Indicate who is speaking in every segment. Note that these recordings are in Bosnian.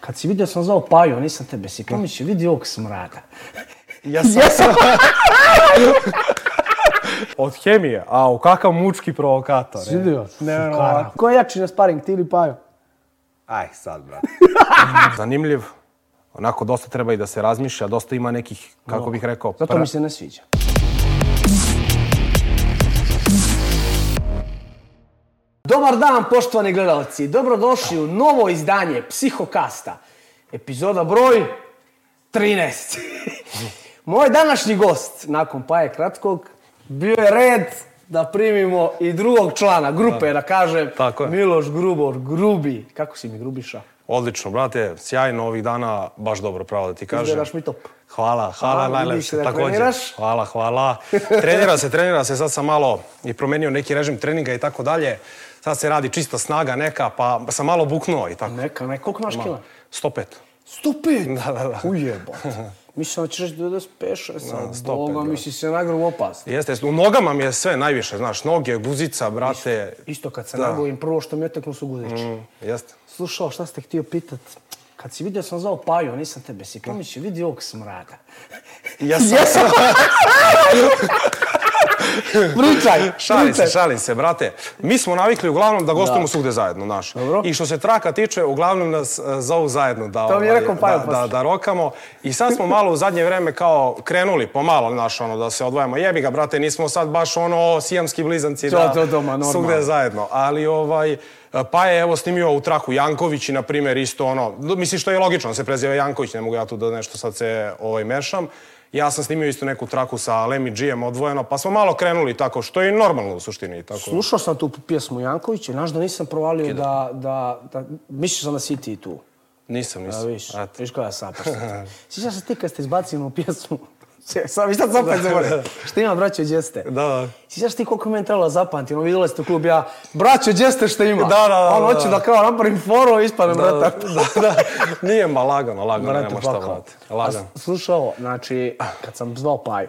Speaker 1: Kad si vidio sam zvao Paju, nisam tebe si pomislio, vidi ovog smrada.
Speaker 2: Ja sam... Od hemije, a u kakav mučki provokator. e.
Speaker 1: Vidio?
Speaker 2: Ne, ne, ne,
Speaker 1: Fukara. Ko je jači na sparing, ti ili Paju?
Speaker 2: Aj, sad, brate. Zanimljiv. Onako, dosta treba i da se razmišlja, dosta ima nekih, kako bih rekao,
Speaker 1: Zato
Speaker 2: pra-
Speaker 1: mi se ne sviđa. Dobar dan, poštovani gledalci. Dobrodošli u novo izdanje Psihokasta. Epizoda broj 13. Moj današnji gost, nakon paje kratkog, bio je red da primimo i drugog člana grupe, da kažem,
Speaker 2: Tako je.
Speaker 1: Miloš Grubor, Grubi. Kako si mi Grubiša?
Speaker 2: Odlično, brate, sjajno ovih dana, baš dobro, pravo da ti kažem.
Speaker 1: Izgledaš mi top.
Speaker 2: Hvala, hvala,
Speaker 1: Hvala,
Speaker 2: hvala
Speaker 1: vidiš se
Speaker 2: najlepše,
Speaker 1: da
Speaker 2: također.
Speaker 1: treniraš.
Speaker 2: Hvala, hvala. Trenira se, trenira se, sad sam malo i promenio neki režim treninga i tako dalje. Sad se radi čista snaga neka, pa sam malo buknuo i tako.
Speaker 1: Neka, neka, koliko imaš kila?
Speaker 2: 105.
Speaker 1: 105?
Speaker 2: Da, da, da.
Speaker 1: Ujebate. Mislim da ćeš reći 95, sam,
Speaker 2: 105,
Speaker 1: boga,
Speaker 2: da.
Speaker 1: misli se nagrom opast.
Speaker 2: Jeste, jeste, u nogama mi je sve najviše, znaš, noge, guzica, brate.
Speaker 1: Isto kad se
Speaker 2: Da.
Speaker 1: nagovim, prvo što mi oteknu su guzići.
Speaker 2: Mm, Jeste.
Speaker 1: Slušao, šta ste htio pitat? Kad si vidio sam zvao Paju, nisam tebe si
Speaker 2: Mm.
Speaker 1: pomislio, vidi ovog smrada.
Speaker 2: Ja sam...
Speaker 1: Pričaj,
Speaker 2: Šalim se, šalim se, brate. Mi smo navikli uglavnom da gostujemo svugde zajedno, znaš.
Speaker 1: Dobro.
Speaker 2: I što se traka tiče, uglavnom nas e, zovu zajedno da,
Speaker 1: To mi je
Speaker 2: ovaj,
Speaker 1: rekao Pajo
Speaker 2: da, da,
Speaker 1: posle.
Speaker 2: da rokamo. I sad smo malo u zadnje vreme kao krenuli, pomalo, znaš, ono, da se odvajamo. Jebi ga, brate, nismo sad baš ono sijamski blizanci
Speaker 1: To,
Speaker 2: da
Speaker 1: to, to, ma, normalno.
Speaker 2: svugde zajedno. Ali ovaj, pa je evo snimio u traku Janković i na primjer isto ono, do- mislim što je logično, on se preziva Janković, ne mogu ja tu da nešto sad se ovaj, mešam. Ja sam snimio isto neku traku sa Lemi G-em odvojeno, pa smo malo krenuli tako, što je i normalno u suštini. i Tako.
Speaker 1: Slušao sam tu pjesmu Jankovića, znaš da nisam provalio da, da, da, mislio sam da si ti tu.
Speaker 2: Nisam,
Speaker 1: A
Speaker 2: nisam.
Speaker 1: viš,
Speaker 2: Eto.
Speaker 1: viš kada sam pršao. Sjećaš se ti kad ste izbacili onu pjesmu? Sam, i sad sam opet zaboravio. Šta ima braćo djeste?
Speaker 2: Da, da.
Speaker 1: Sjećaš ti koliko je meni trebalo zapamtiti? Ono, vidjela ste u klub, ja, braćo, gdje ste što ima?
Speaker 2: Da, da, da,
Speaker 1: Ono,
Speaker 2: da,
Speaker 1: hoću
Speaker 2: da.
Speaker 1: da kao napravim foru, ispadnem da,
Speaker 2: Da,
Speaker 1: brata.
Speaker 2: da, da, nije, ma lagano, lagano, nema šta,
Speaker 1: pakao.
Speaker 2: brate. Lagano.
Speaker 1: A s- Slušaj ovo, znači, kad sam zvao Paju,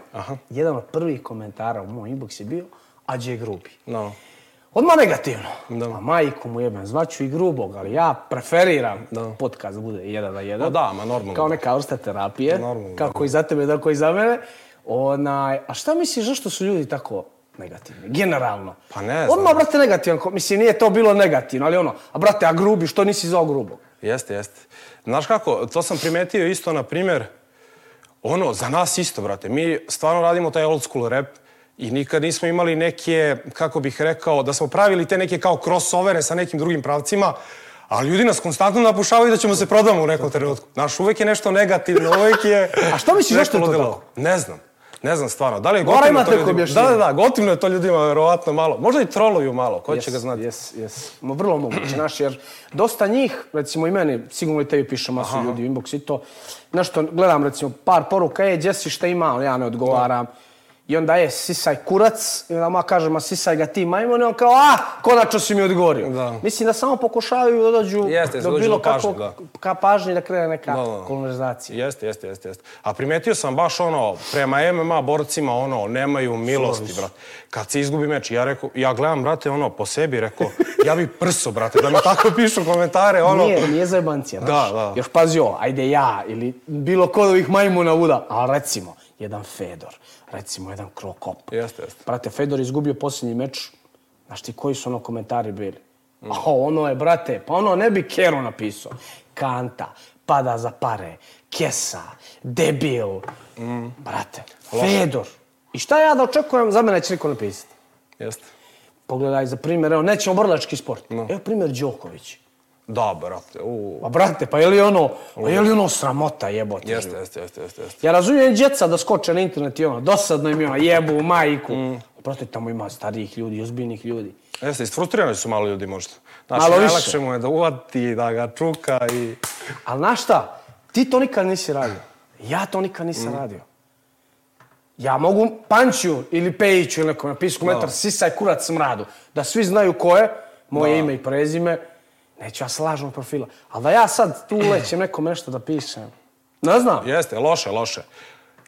Speaker 1: jedan od prvih komentara u moj inbox je bio, a gdje je grubi?
Speaker 2: No.
Speaker 1: Odmah negativno.
Speaker 2: Da.
Speaker 1: A majku mu jebem, zvaću i grubog, ali ja preferiram da. podcast bude jedan na jedan.
Speaker 2: Pa da, ma normalno.
Speaker 1: Kao neka vrsta terapije.
Speaker 2: Normalno,
Speaker 1: Kako i za tebe, tako i za mene. Onaj, a šta misliš, zašto su ljudi tako negativni? Generalno.
Speaker 2: Pa ne znam.
Speaker 1: Odmah, brate, negativan. ko- Mislim, nije to bilo negativno, ali ono, a brate, a grubi, što nisi zvao grubog?
Speaker 2: Jeste, jeste. Znaš kako, to sam primetio isto, na primjer, ono, za nas isto, brate. Mi stvarno radimo taj old school rap i nikad nismo imali neke, kako bih rekao, da smo pravili te neke kao crossovere sa nekim drugim pravcima, a ljudi nas konstantno napušavaju da ćemo se prodamo u nekom trenutku. Znaš, uvek je nešto negativno, uvek je...
Speaker 1: A što misliš,
Speaker 2: neko
Speaker 1: zašto je to
Speaker 2: ludilo.
Speaker 1: tako?
Speaker 2: Ne znam. Ne znam stvarno. Da li je
Speaker 1: Mora
Speaker 2: gotivno
Speaker 1: imati
Speaker 2: to
Speaker 1: neko
Speaker 2: ljudima? Da,
Speaker 1: objašnjenje.
Speaker 2: da, da, gotivno je to ljudima, verovatno malo. Možda i troluju malo, ko će ga znati.
Speaker 1: Jes, jes. Ma vrlo moguće, znaš, jer dosta njih, recimo i meni, sigurno i tebi piše masu ljudi u inbox i to, znaš što, gledam recimo par poruka, je, gdje si, šta ima, ali ja ne odgovaram. I onda je, sisaj kurac, i onda ma kaže, ma sisaj ga ti majmon, i on kao, a, konačno si mi odgovorio.
Speaker 2: Da,
Speaker 1: Mislim da samo pokušavaju da dođu
Speaker 2: Jeste, da
Speaker 1: do
Speaker 2: dođu
Speaker 1: bilo
Speaker 2: do pažnje,
Speaker 1: kako,
Speaker 2: da.
Speaker 1: ka pažnji da krene neka
Speaker 2: Da, da, da.
Speaker 1: konverzacija.
Speaker 2: Jeste, jeste, jeste, jeste. A primetio sam baš ono, prema MMA borcima, ono, nemaju milosti, brate. Kad se izgubi meč, ja rekao, ja gledam, brate, ono, po sebi, rekao, ja bi prso, brate, da mi tako pišu komentare, ono.
Speaker 1: Nije, nije zajebancija, znaš.
Speaker 2: Da, da.
Speaker 1: Još pazi ovo, ajde ja ili bilo ko od ovih majmuna uda, a recimo, jedan Fedor, recimo jedan Krokop.
Speaker 2: Jeste, jeste.
Speaker 1: Brate, Fedor je izgubio posljednji meč, znaš ti koji su ono komentari bili? A ono je, brate, pa ono ne bi Kero napisao. Kanta, pada za pare, kesa, debil.
Speaker 2: Mm.
Speaker 1: Brate, Fedor. I šta ja da očekujem, za mene će niko napisati.
Speaker 2: Jeste.
Speaker 1: Pogledaj, za primjer, evo, nećemo brlački sport. Evo primjer Đoković.
Speaker 2: Da, brate, u...
Speaker 1: Pa brate, pa je li ono, pa je li ono sramota jebote?
Speaker 2: Jeste, jeste, jeste, jeste, jeste.
Speaker 1: Ja razumijem djeca da skoče na internet i ono, dosadno im je ono, jebu u majku. Brate, tamo ima starijih ljudi, ozbiljnih ljudi.
Speaker 2: Jeste, isfrustrirani su malo ljudi možda. Znači,
Speaker 1: Malo više.
Speaker 2: najlakše mu je da uvati, da ga čuka i...
Speaker 1: Ali znaš šta, ti to nikad nisi radio. Ja to nikad nisam radio. Ja mogu Pančiju ili Pejiću ili nekom napisati komentar sisaj kurac smradu. Da svi znaju ko je, moje ime i prezime. Neću ja s lažnog profila. Ali da ja sad tu ulećem nekom nešto da pišem. Ne znam.
Speaker 2: Jeste, loše, loše.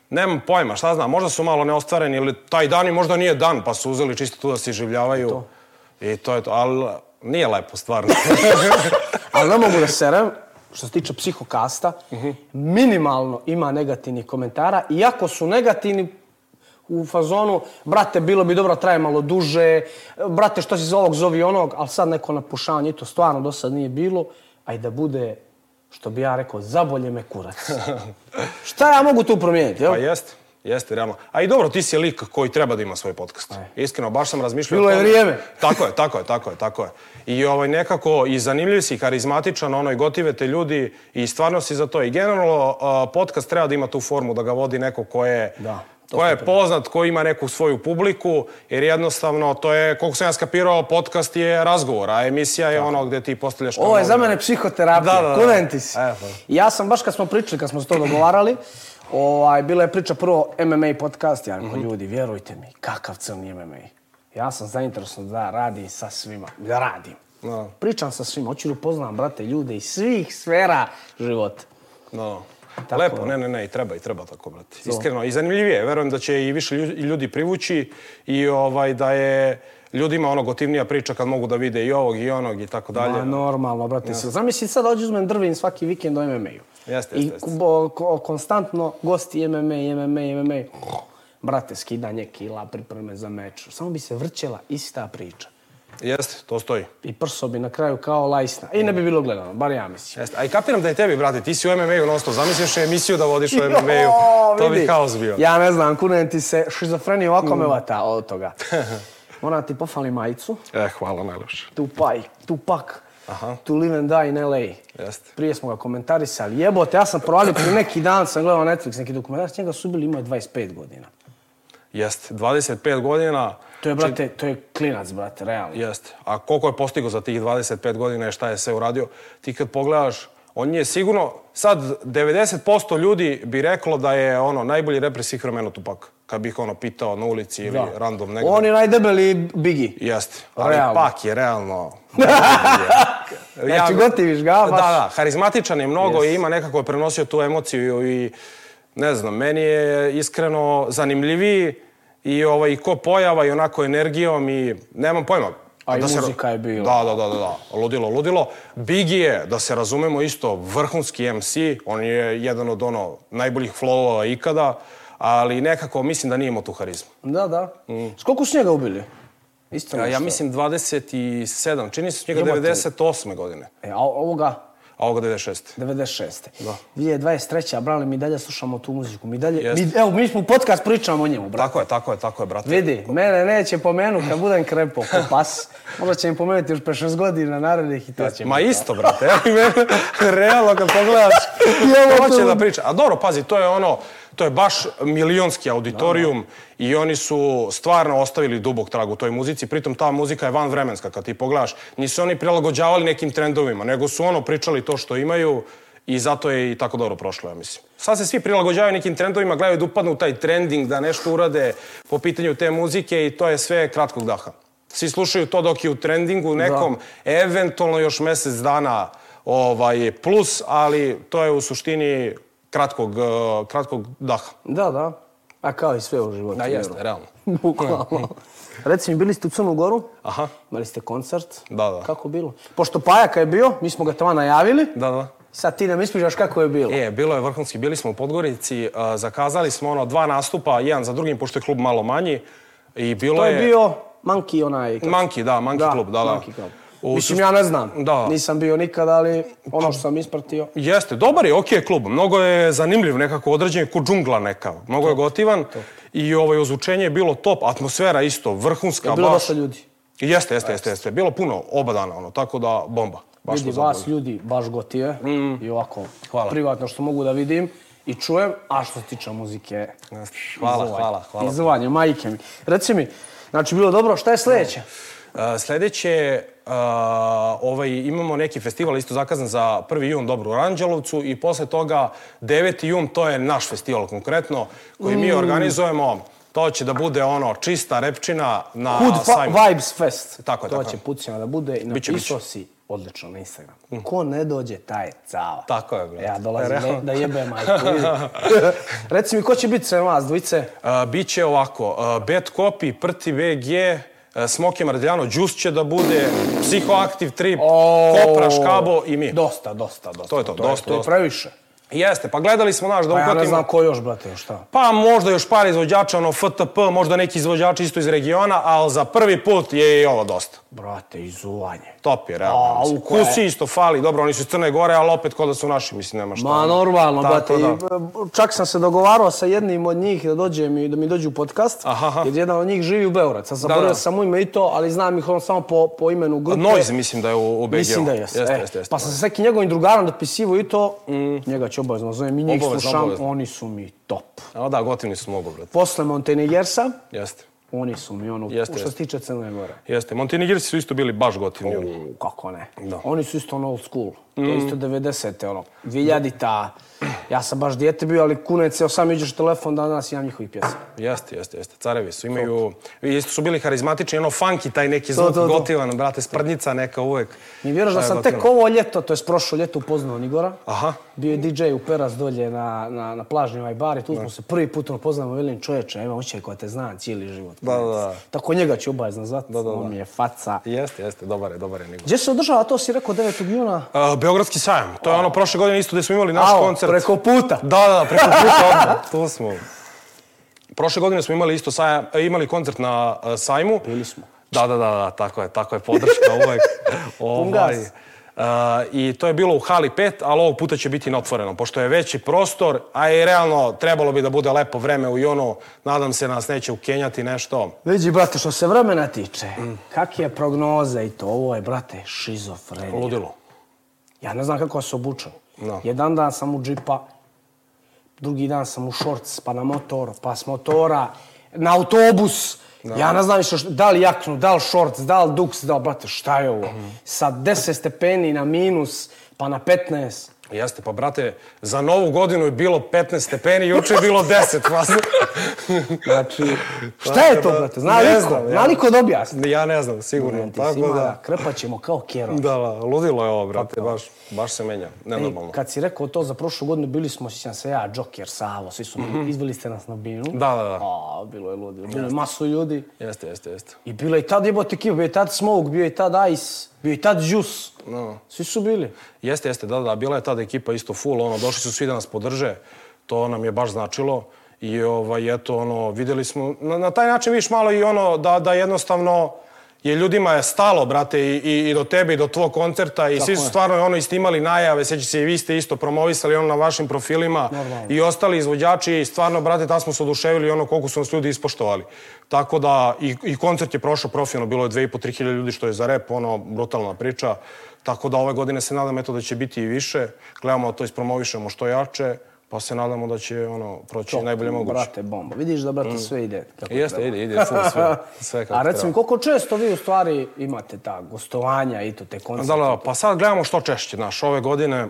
Speaker 2: Nemam pojma, šta znam, možda su malo neostvareni ili taj dan i možda nije dan, pa su uzeli čisto tu da se življavaju. I to je to, ali nije lepo, stvarno.
Speaker 1: Ali ne mogu da serem, što se tiče psihokasta, minimalno ima negativnih komentara, iako su negativni u fazonu, brate, bilo bi dobro da traje malo duže, brate, što si za ovog, zovi onog, ali sad neko napušavanje, i to stvarno do sad nije bilo, a i da bude, što bi ja rekao, zabolje me kurac. Šta ja mogu tu promijeniti, jel?
Speaker 2: Pa jeste, jeste, realno. A i dobro, ti si lik koji treba da ima svoj podcast. Iskreno, baš sam
Speaker 1: E.
Speaker 2: razmišljao... o
Speaker 1: Bilo je
Speaker 2: tome.
Speaker 1: vrijeme.
Speaker 2: Tako je, tako je, tako je, tako je. I ovaj, nekako, i zanimljiv si, karizmatičan, ono, i gotive te ljudi, i stvarno si za to. I generalno, a, podcast treba da ima tu formu, da ga vodi neko ko je...
Speaker 1: Da, to
Speaker 2: Ko je poznat, ko ima neku svoju publiku, jer jednostavno to je, koliko sam ja skapirao, podcast je razgovor, a emisija je ono gdje ti postavljaš... kao
Speaker 1: Ovo je
Speaker 2: novinar.
Speaker 1: za mene psihoterapija,
Speaker 2: Da, da, da.
Speaker 1: kunem ti si.
Speaker 2: E, pa.
Speaker 1: Ja sam baš kad smo pričali, kad smo se to dogovarali, ovaj, bila je priča prvo MMA podcast, ja
Speaker 2: Mhm.
Speaker 1: rekao, ljudi, vjerujte mi, kakav crni MMA. Ja sam zainteresovan da radim sa svima, da radim.
Speaker 2: Da.
Speaker 1: Pričam sa svima, hoću da upoznam, brate, ljude iz svih sfera života.
Speaker 2: No.
Speaker 1: Tako.
Speaker 2: Lepo, ne, ne, ne, i treba, i treba tako, brate. Iskreno, i zanimljivije. Verujem da će i više lju- ljudi privući i ovaj da je ljudima ono gotivnija priča kad mogu da vide i ovog i onog i tako dalje.
Speaker 1: Ma, Pa normalno, brate. Yes. Zamisli sad dođu uzmem drvin svaki vikend o MMA-u.
Speaker 2: Jeste,
Speaker 1: I
Speaker 2: jeste, jeste.
Speaker 1: bo- ko- konstantno gosti MMA, MMA, MMA. Brate, skidanje kila, pripreme za meč. Samo bi se vrćela ista priča.
Speaker 2: Jeste, to stoji.
Speaker 1: I prso bi na kraju kao lajsna. I ne bi bilo gledano, bar ja mislim.
Speaker 2: Jeste. A i kapiram da je tebi, brate, ti si u MMA-u non stop. Zamisliš emisiju da vodiš u
Speaker 1: Jo,
Speaker 2: MMA-u. To bi
Speaker 1: vidi.
Speaker 2: kaos bio. Mm.
Speaker 1: Ja ne znam, kunem ti se šizofrenija ovako me vata od toga. Moram ti pofali majicu.
Speaker 2: E, hvala najlepše.
Speaker 1: Tupai, Tupak,
Speaker 2: Aha.
Speaker 1: To Live and Die in L.A.
Speaker 2: Jeste.
Speaker 1: Prije smo ga komentarisali. Jebote, ja sam provalio prije neki dan, sam gledao Netflix, neki dokumentarac, njega su bili imao je 25 godina.
Speaker 2: Jeste, 25 godina.
Speaker 1: To je, brate, to je klinac, brate, realno.
Speaker 2: Jeste. A koliko je postigao za tih 25 godina i šta je sve uradio? Ti kad pogledaš, on je sigurno, sad 90% ljudi bi reklo da je ono najbolji repre svih vremena Tupak. Kad bih ono pitao na ulici ili
Speaker 1: Da.
Speaker 2: random negdje.
Speaker 1: On je najdebeli Biggie.
Speaker 2: Jeste. Ali
Speaker 1: Realno.
Speaker 2: Pak je realno...
Speaker 1: Znači, gotiviš ga,
Speaker 2: Da,
Speaker 1: baš.
Speaker 2: da, harizmatičan je mnogo i ima nekako je prenosio tu emociju i ne znam, meni je iskreno zanimljiviji i ovaj, i ko pojava i onako energijom i nemam pojma.
Speaker 1: A i
Speaker 2: se ra-
Speaker 1: muzika je bila.
Speaker 2: Da, da, da, da, da, ludilo, ludilo. Biggie je, da se razumemo isto, vrhunski MC, on je jedan od ono najboljih flowova ikada, ali nekako mislim da nije imao tu harizmu.
Speaker 1: Da, da. S koliko su njega ubili? Isto
Speaker 2: Mm. Ja, ja
Speaker 1: nešto.
Speaker 2: mislim 27, čini se njega
Speaker 1: Jebote.
Speaker 2: 98. godine,
Speaker 1: E, a ovoga,
Speaker 2: a ovoga 96.
Speaker 1: 96. Da. 2023. a brale, mi dalje slušamo tu muziku. Mi dalje,
Speaker 2: Jeste.
Speaker 1: mi, evo, mi smo u podcast pričamo o njemu, brate.
Speaker 2: Tako je, tako je, tako je, brate.
Speaker 1: Vidi, mene neće pomenuti kad budem krepo ko pas. Možda će mi pomenuti još pre šest godina narednih i to će
Speaker 2: Ma isto, brate, evo i mene, realno kad pogledaš,
Speaker 1: ovo
Speaker 2: hoće
Speaker 1: tu.
Speaker 2: da priča. A dobro, pazi, to je ono, to je baš milionski auditorijum i oni su stvarno ostavili dubog trag u toj muzici, pritom ta muzika je vanvremenska kad ti pogledaš. Nisu oni prilagođavali nekim trendovima, nego su ono pričali to što imaju i zato je i tako dobro prošlo, ja mislim. Sad se svi prilagođavaju nekim trendovima, gledaju da upadnu u taj trending, da nešto urade po pitanju te muzike i to je sve kratkog daha. Svi slušaju to dok je u trendingu nekom, eventualno još mjesec dana ovaj, plus, ali to je u suštini kratkog, eh, kratkog daha.
Speaker 1: Da, da. A kao i sve u životu.
Speaker 2: Da, jeste,
Speaker 1: vjerujem.
Speaker 2: realno.
Speaker 1: Bukvalno. Reci mi, bili ste u Crnu Goru,
Speaker 2: Aha,
Speaker 1: imali ste koncert.
Speaker 2: Da, da.
Speaker 1: Kako bilo? Pošto Pajaka je bio, mi smo ga tamo najavili.
Speaker 2: da, da.
Speaker 1: Sad ti nam ispričaš kako je bilo.
Speaker 2: E, bilo je vrhunski, bili smo u Podgorici, eh, zakazali smo ono dva nastupa, jedan za drugim, pošto je klub malo manji. I bilo
Speaker 1: To je bio Monkey onaj...
Speaker 2: Monkey, da, Monkey
Speaker 1: da,
Speaker 2: klub, da, da.
Speaker 1: Monkey Club.
Speaker 2: U
Speaker 1: Mislim,
Speaker 2: sušt-
Speaker 1: ja ne znam.
Speaker 2: Da.
Speaker 1: Nisam bio nikad, ali ono što sam ispratio...
Speaker 2: Jeste, dobar je, okej klub. Mnogo je zanimljiv nekako, određen je ko džungla neka. Mnogo je gotivan i ovaj, ozvučenje je bilo top, atmosfera isto, vrhunska.
Speaker 1: Je bilo
Speaker 2: baš.
Speaker 1: dosta ljudi.
Speaker 2: Jeste, jeste, jeste, jeste. Bilo puno oba dana, ono, tako da bomba. Baš
Speaker 1: vidi
Speaker 2: smo zadovoljni. Mm.
Speaker 1: vas ljudi baš gotive i ovako
Speaker 2: Hvala.
Speaker 1: privatno što mogu da vidim i čujem, a što se tiče muzike,
Speaker 2: Jeste. Hvala, hvala, hvala.
Speaker 1: izvanje, majke mi. Reci mi, znači bilo dobro, šta je sljedeće?
Speaker 2: Uh, sljedeće, uh, ovaj, imamo neki festival isto zakazan za 1. jun dobro u Ranđelovcu i posle toga 9. jun, to je naš festival konkretno, koji
Speaker 1: Mm.
Speaker 2: mi organizujemo. To će da bude ono čista repčina na
Speaker 1: Hood
Speaker 2: sajmu.
Speaker 1: fa- Vibes Fest.
Speaker 2: Tako je,
Speaker 1: to
Speaker 2: tako
Speaker 1: će
Speaker 2: je.
Speaker 1: pucima da bude i
Speaker 2: Biće,
Speaker 1: napisao si odlično na Instagram. Ko ne dođe, taj je cava.
Speaker 2: Mm.
Speaker 1: E,
Speaker 2: Tako je, brate.
Speaker 1: Ja dolazim
Speaker 2: Realno.
Speaker 1: ne, da jebem majku, vidi. Reci mi, ko će biti sve vas dvojice?
Speaker 2: Uh, biće ovako, uh, Bad Copy, Prti BG, e, Smoke Mardiljano, Đus će da bude, Psihoaktiv Trip,
Speaker 1: O,
Speaker 2: Kopra, Škabo i mi.
Speaker 1: Dosta, dosta, dosta.
Speaker 2: To je to, dosta,
Speaker 1: To je
Speaker 2: dosta.
Speaker 1: previše.
Speaker 2: Jeste, pa gledali smo, naš, da
Speaker 1: Pa ja ne
Speaker 2: uhvatimo...
Speaker 1: znam ko još, brate, još šta.
Speaker 2: Pa možda još par izvođača, ono FTP, možda neki izvođači isto iz regiona, ali za prvi put je i ovo dosta.
Speaker 1: Brate, izuvanje.
Speaker 2: Top je, realno.
Speaker 1: A,
Speaker 2: mislim.
Speaker 1: u koje?
Speaker 2: Kusi isto fali, dobro, oni su iz Crne Gore, ali opet kod da su naši, mislim, nema šta.
Speaker 1: Ma
Speaker 2: ono.
Speaker 1: normalno,
Speaker 2: Tako
Speaker 1: brate.
Speaker 2: da.
Speaker 1: i, b- Čak sam se dogovarao sa jednim od njih da dođe mi, da mi dođe u podcast,
Speaker 2: Aha, aha.
Speaker 1: jer jedan od njih živi u Beograd. Sad
Speaker 2: Da,
Speaker 1: zaboravio
Speaker 2: da.
Speaker 1: sam mu ime i to, ali znam ih on samo po, po imenu grupe.
Speaker 2: Noise, mislim da je u, u BG-u.
Speaker 1: Mislim da jeste.
Speaker 2: Jeste,
Speaker 1: e,
Speaker 2: jeste, jeste.
Speaker 1: Pa sam se s nekim njegovim drugarom dopisivo i to, mm, njega ću obavezno zovem i njih
Speaker 2: Obavezno,
Speaker 1: slušam,
Speaker 2: obavezno.
Speaker 1: oni su mi top.
Speaker 2: A da, gotivni su mogu, brate.
Speaker 1: Posle Montenegersa,
Speaker 2: Jeste.
Speaker 1: oni su mi ono, što
Speaker 2: Jeste,
Speaker 1: se
Speaker 2: jeste.
Speaker 1: tiče Crne Gore.
Speaker 2: Jeste. Montenegirci su isto bili baš gotivni. ono.
Speaker 1: U, kako ne.
Speaker 2: Da. Mm.
Speaker 1: Oni su isto ono old school. To je isto 90-te, ono, 2000-ta. Ja sam baš dijete bio, ali kunec, evo sam iđeš telefon danas i imam njihovih pjesama.
Speaker 2: Jeste, jeste, jeste. Carevi su imaju... Isto su bili harizmatični, ono funky, taj neki
Speaker 1: To,
Speaker 2: zvuk
Speaker 1: to, to.
Speaker 2: gotivan, brate, sprdnjica neka uvek.
Speaker 1: Mi vjeruš da
Speaker 2: Šta je
Speaker 1: sam tek
Speaker 2: gotivno?
Speaker 1: ovo ljeto, to je prošlo ljeto upoznao Nigora.
Speaker 2: Aha.
Speaker 1: Bio je DJ u Peras dolje na, na, na plažni ovaj bar i tu smo se prvi put upoznamo velim čovječe, evo očaj koja te zna cijeli život.
Speaker 2: Da, da, da.
Speaker 1: Tako njega ću obavezno zvati,
Speaker 2: da,
Speaker 1: on
Speaker 2: da.
Speaker 1: mi je faca.
Speaker 2: Jeste, jeste, dobar je, dobar je Nigor.
Speaker 1: Gdje se održava to, si rekao 9. juna?
Speaker 2: Uh, Beogradski sajam, to je ono prošle godine isto gdje smo imali naš
Speaker 1: Ao,
Speaker 2: koncert.
Speaker 1: preko puta.
Speaker 2: Da, da, da, preko puta odmah. Tu smo. Prošle godine smo imali isto sajam, e, imali koncert na e, sajmu. Bili
Speaker 1: smo.
Speaker 2: Da, da, da, da, tako je, tako je, podrška uvek.
Speaker 1: Pun gas.
Speaker 2: Uh, I to je bilo u hali 5, ali ovog puta će biti na otvorenom, pošto je veći prostor, a i realno trebalo bi da bude lepo vreme u junu, nadam se nas neće ukenjati nešto.
Speaker 1: Vidi, brate, što se vremena tiče,
Speaker 2: Mm.
Speaker 1: kak je prognoza i to, ovo je, brate, šizofrenija.
Speaker 2: Ludilo.
Speaker 1: Ja ne znam kako se obučem.
Speaker 2: No.
Speaker 1: Jedan dan sam u džipa, drugi dan sam u šorc, pa na motor, pa s motora, na autobus. Ja ne znam više, što- da li jaknu, da li šorc, da li duks, da li, brate, šta je ovo?
Speaker 2: Mhm.
Speaker 1: Sa 10 stepeni na minus, pa na 15.
Speaker 2: Jeste, pa brate, za novu godinu je bilo 15 stepeni, juče je bilo 10, vas.
Speaker 1: Znači, šta je to, brate? Zna
Speaker 2: Pa Ne
Speaker 1: liko?
Speaker 2: znam, ja.
Speaker 1: Zna liko da objasni?
Speaker 2: Ja ne znam, sigurno,
Speaker 1: Ti si
Speaker 2: tako
Speaker 1: imala,
Speaker 2: da...
Speaker 1: Krpat ćemo kao kjero.
Speaker 2: Da, da, ludilo je ovo, brate, baš, baš se menja, nenormalno.
Speaker 1: Kad si rekao to za prošlu godinu, bili smo, sjećam se ja, Joker, Savo, svi su, izveli ste nas na binu.
Speaker 2: Mhm. Da, da, da.
Speaker 1: A, bilo je ludilo. Bilo je masu ljudi.
Speaker 2: Jeste, jeste, jeste.
Speaker 1: I bila je i tad jebote kiva, bio je i tad Smoke, bio je i tad Ice, bio je i tad Juice.
Speaker 2: No. Znači,
Speaker 1: Svi su bili.
Speaker 2: Jeste, jeste, da, da, bila je tada ekipa isto full, ono, došli su svi da nas podrže, to nam je baš značilo. I ovaj, eto, ono, vidjeli smo, na, na taj način viš malo i ono, da, da jednostavno, je ljudima je stalo, brate, i, i, i do tebe i do tvog koncerta i svi su stvarno ono istimali najave, sjeća se i vi ste isto promovisali ono na vašim profilima
Speaker 1: Normalno.
Speaker 2: i ostali izvođači i stvarno, brate, tad smo se oduševili ono koliko su nas ljudi ispoštovali. Tako da i, i koncert je prošao profilno, bilo je 2,5-3 hiljade ljudi što je za rep, ono, brutalna priča. Tako da ove godine se nadam eto da će biti i više. Gledamo da to ispromovišemo što jače, pa se nadamo da će ono proći najbolje moguće. Mm.
Speaker 1: Brate, bomba. Vidiš da, brate, sve ide. Kako
Speaker 2: Jeste,
Speaker 1: treba.
Speaker 2: ide, ide, full sve, sve kako
Speaker 1: A recimo,
Speaker 2: treba.
Speaker 1: koliko često vi u stvari imate ta gostovanja i to, te koncerte?
Speaker 2: Da, da, da, pa sad gledamo što češće, znaš, ove godine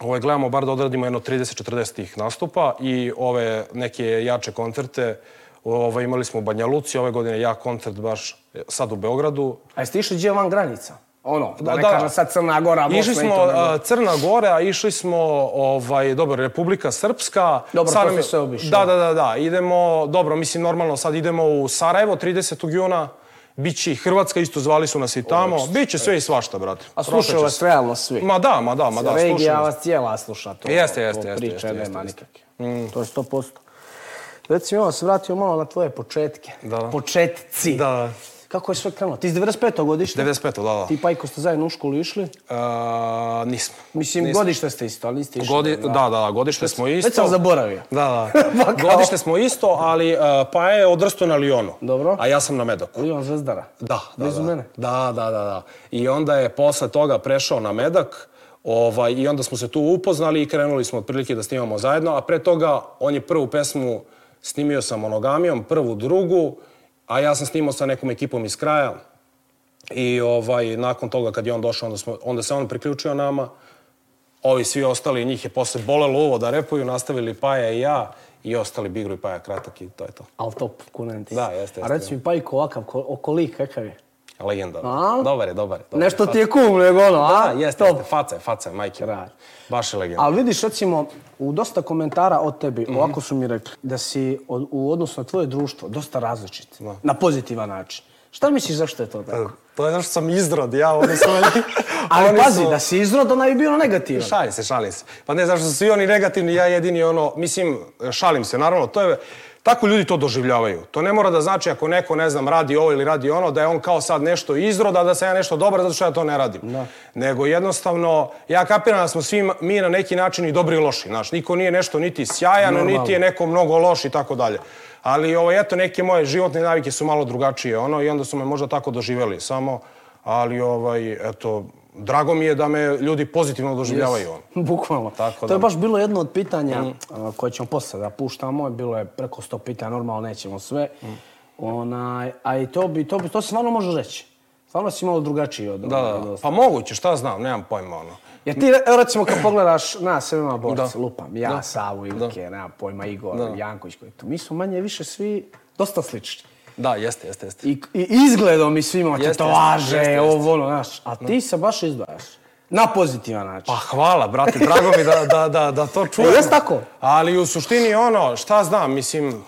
Speaker 2: ovaj, gledamo bar da odradimo jedno 30-40 tih nastupa i ove neke jače koncerte, ove, imali smo u Banja Luci, ove godine ja koncert baš sad u Beogradu.
Speaker 1: A jeste išli gdje van granica? Ono, da,
Speaker 2: Da,
Speaker 1: ne
Speaker 2: da.
Speaker 1: kažem sad Crna Gora, Bosna
Speaker 2: Išli
Speaker 1: i
Speaker 2: smo
Speaker 1: to. nego-
Speaker 2: a, Crna Gora, išli smo ovaj dobro Republika Srpska.
Speaker 1: Dobro,
Speaker 2: Sad
Speaker 1: to
Speaker 2: nam je-
Speaker 1: ste sve obišli.
Speaker 2: Da, da, da, da. Idemo, dobro, mislim normalno sad idemo u Sarajevo 30. juna. Biće i Hrvatska, isto zvali su nas i tamo. Biće sve i svašta, brate.
Speaker 1: A slušaju
Speaker 2: Prošeće
Speaker 1: vas
Speaker 2: se.
Speaker 1: realno svi.
Speaker 2: Ma da, ma da, ma da,
Speaker 1: Regija ovaj.
Speaker 2: slušam.
Speaker 1: vas cijela sluša to.
Speaker 2: Jeste,
Speaker 1: to
Speaker 2: jeste, jeste,
Speaker 1: Priče
Speaker 2: jeste,
Speaker 1: nema
Speaker 2: jeste,
Speaker 1: nikakve. To je 100%. Reci mi, ovo se vratio malo na tvoje početke.
Speaker 2: Da, da.
Speaker 1: Početci.
Speaker 2: Da, da.
Speaker 1: Kako je sve krenulo? Ti iz 95. godište?
Speaker 2: 95. da, da.
Speaker 1: Ti pa i ko ste zajedno u školu išli?
Speaker 2: Uh, nismo.
Speaker 1: Mislim,
Speaker 2: Nismo.
Speaker 1: godište ste isto, ali niste išli.
Speaker 2: Godi, da, da, da, godište smo isto.
Speaker 1: Već sam zaboravio.
Speaker 2: Da,
Speaker 1: Pa
Speaker 2: da.
Speaker 1: kao.
Speaker 2: godište smo isto, ali uh, pa je odrastao na Lionu.
Speaker 1: Dobro.
Speaker 2: A ja sam na Medoku.
Speaker 1: Lion Zvezdara.
Speaker 2: Da, da,
Speaker 1: Blizu
Speaker 2: da.
Speaker 1: mene.
Speaker 2: Da, da, da, da. I onda je posle toga prešao na Medak, ovaj, i onda smo se tu upoznali i krenuli smo otprilike da snimamo zajedno, a pre toga on je prvu pesmu snimio sa monogamijom, prvu, drugu, a ja sam snimao sa nekom ekipom iz kraja. I ovaj, nakon toga kad je on došao, onda, smo, onda se on priključio nama. Ovi svi ostali, njih je posle bolelo uvo da repuju, nastavili Paja i ja i ostali Bigru i Paja kratak i to je to.
Speaker 1: Al top, kunem ti.
Speaker 2: Da,
Speaker 1: A
Speaker 2: jeste, jeste.
Speaker 1: reci mi, Pajko ovakav, ko, okolik, kakav je?
Speaker 2: Legenda.
Speaker 1: A?
Speaker 2: Dobar je, dobar je. Dobar je.
Speaker 1: Nešto ti je cool, nego ono, a?
Speaker 2: Pa, Da, jeste,
Speaker 1: Top.
Speaker 2: jeste, faca je, faca je, majke.
Speaker 1: Kralj.
Speaker 2: Baš je legenda.
Speaker 1: Ali vidiš, recimo, u dosta komentara od tebi,
Speaker 2: Mhm.
Speaker 1: ovako su mi rekli, da si od, u odnosu na tvoje društvo dosta različit. Na pozitivan način. Šta misliš zašto je to tako?
Speaker 2: To je zato što sam izrod, ja, oni su meni...
Speaker 1: Ali
Speaker 2: Pa, oni
Speaker 1: pazi,
Speaker 2: su-
Speaker 1: da si izrod, ona bi bilo negativan.
Speaker 2: Šalim se, šalim se. Pa ne, zašto su svi oni negativni, ja jedini ono, mislim, šalim se, naravno, to je, tako ljudi to doživljavaju. To ne mora da znači ako neko, ne znam, radi ovo ili radi ono, da je on kao sad nešto izroda, da sam ja nešto dobar, zato što ja to ne radim. Da. Nego jednostavno, ja kapiram da smo svi mi na neki način i dobri i loši, znaš, niko nije nešto niti sjajan,
Speaker 1: Normalno.
Speaker 2: niti je neko mnogo loš i tako dalje. Ali ovo, eto, neke moje životne navike su malo drugačije, ono, i onda su me možda tako doživjeli, samo, ali, ovaj, eto, drago mi je da me ljudi pozitivno doživljavaju, ono.
Speaker 1: Bukvalno.
Speaker 2: Tako
Speaker 1: to
Speaker 2: da- Mm.
Speaker 1: je baš bilo jedno od pitanja a, koje ćemo posle da puštamo. Bilo je preko 100 pitanja, normalno nećemo sve.
Speaker 2: Mm.
Speaker 1: Onaj, a i to, bi, to, bi, to se stvarno može reći. Stvarno si malo drugačiji od
Speaker 2: Da,
Speaker 1: od-
Speaker 2: da. Pa moguće, šta znam, nemam pojma ono.
Speaker 1: Jer ti, evo recimo, kad pogledaš nas, ima borca,
Speaker 2: Da.
Speaker 1: lupam, ja,
Speaker 2: Da.
Speaker 1: Savu, Ilke, nemam pojma, Igor, Janković, koji tu. Mi smo manje više svi dosta slični.
Speaker 2: Da, jeste, jeste, jeste.
Speaker 1: I, i izgledom i svima,
Speaker 2: Jeste, jeste,
Speaker 1: tetovaže,
Speaker 2: jeste,
Speaker 1: ovo, ono, znaš. A ti se baš izdvajaš. Na pozitivan način.
Speaker 2: Pa hvala, brate, drago mi da, da, da, da to čujem.
Speaker 1: E, jest tako?
Speaker 2: Ali u suštini ono, šta znam, mislim,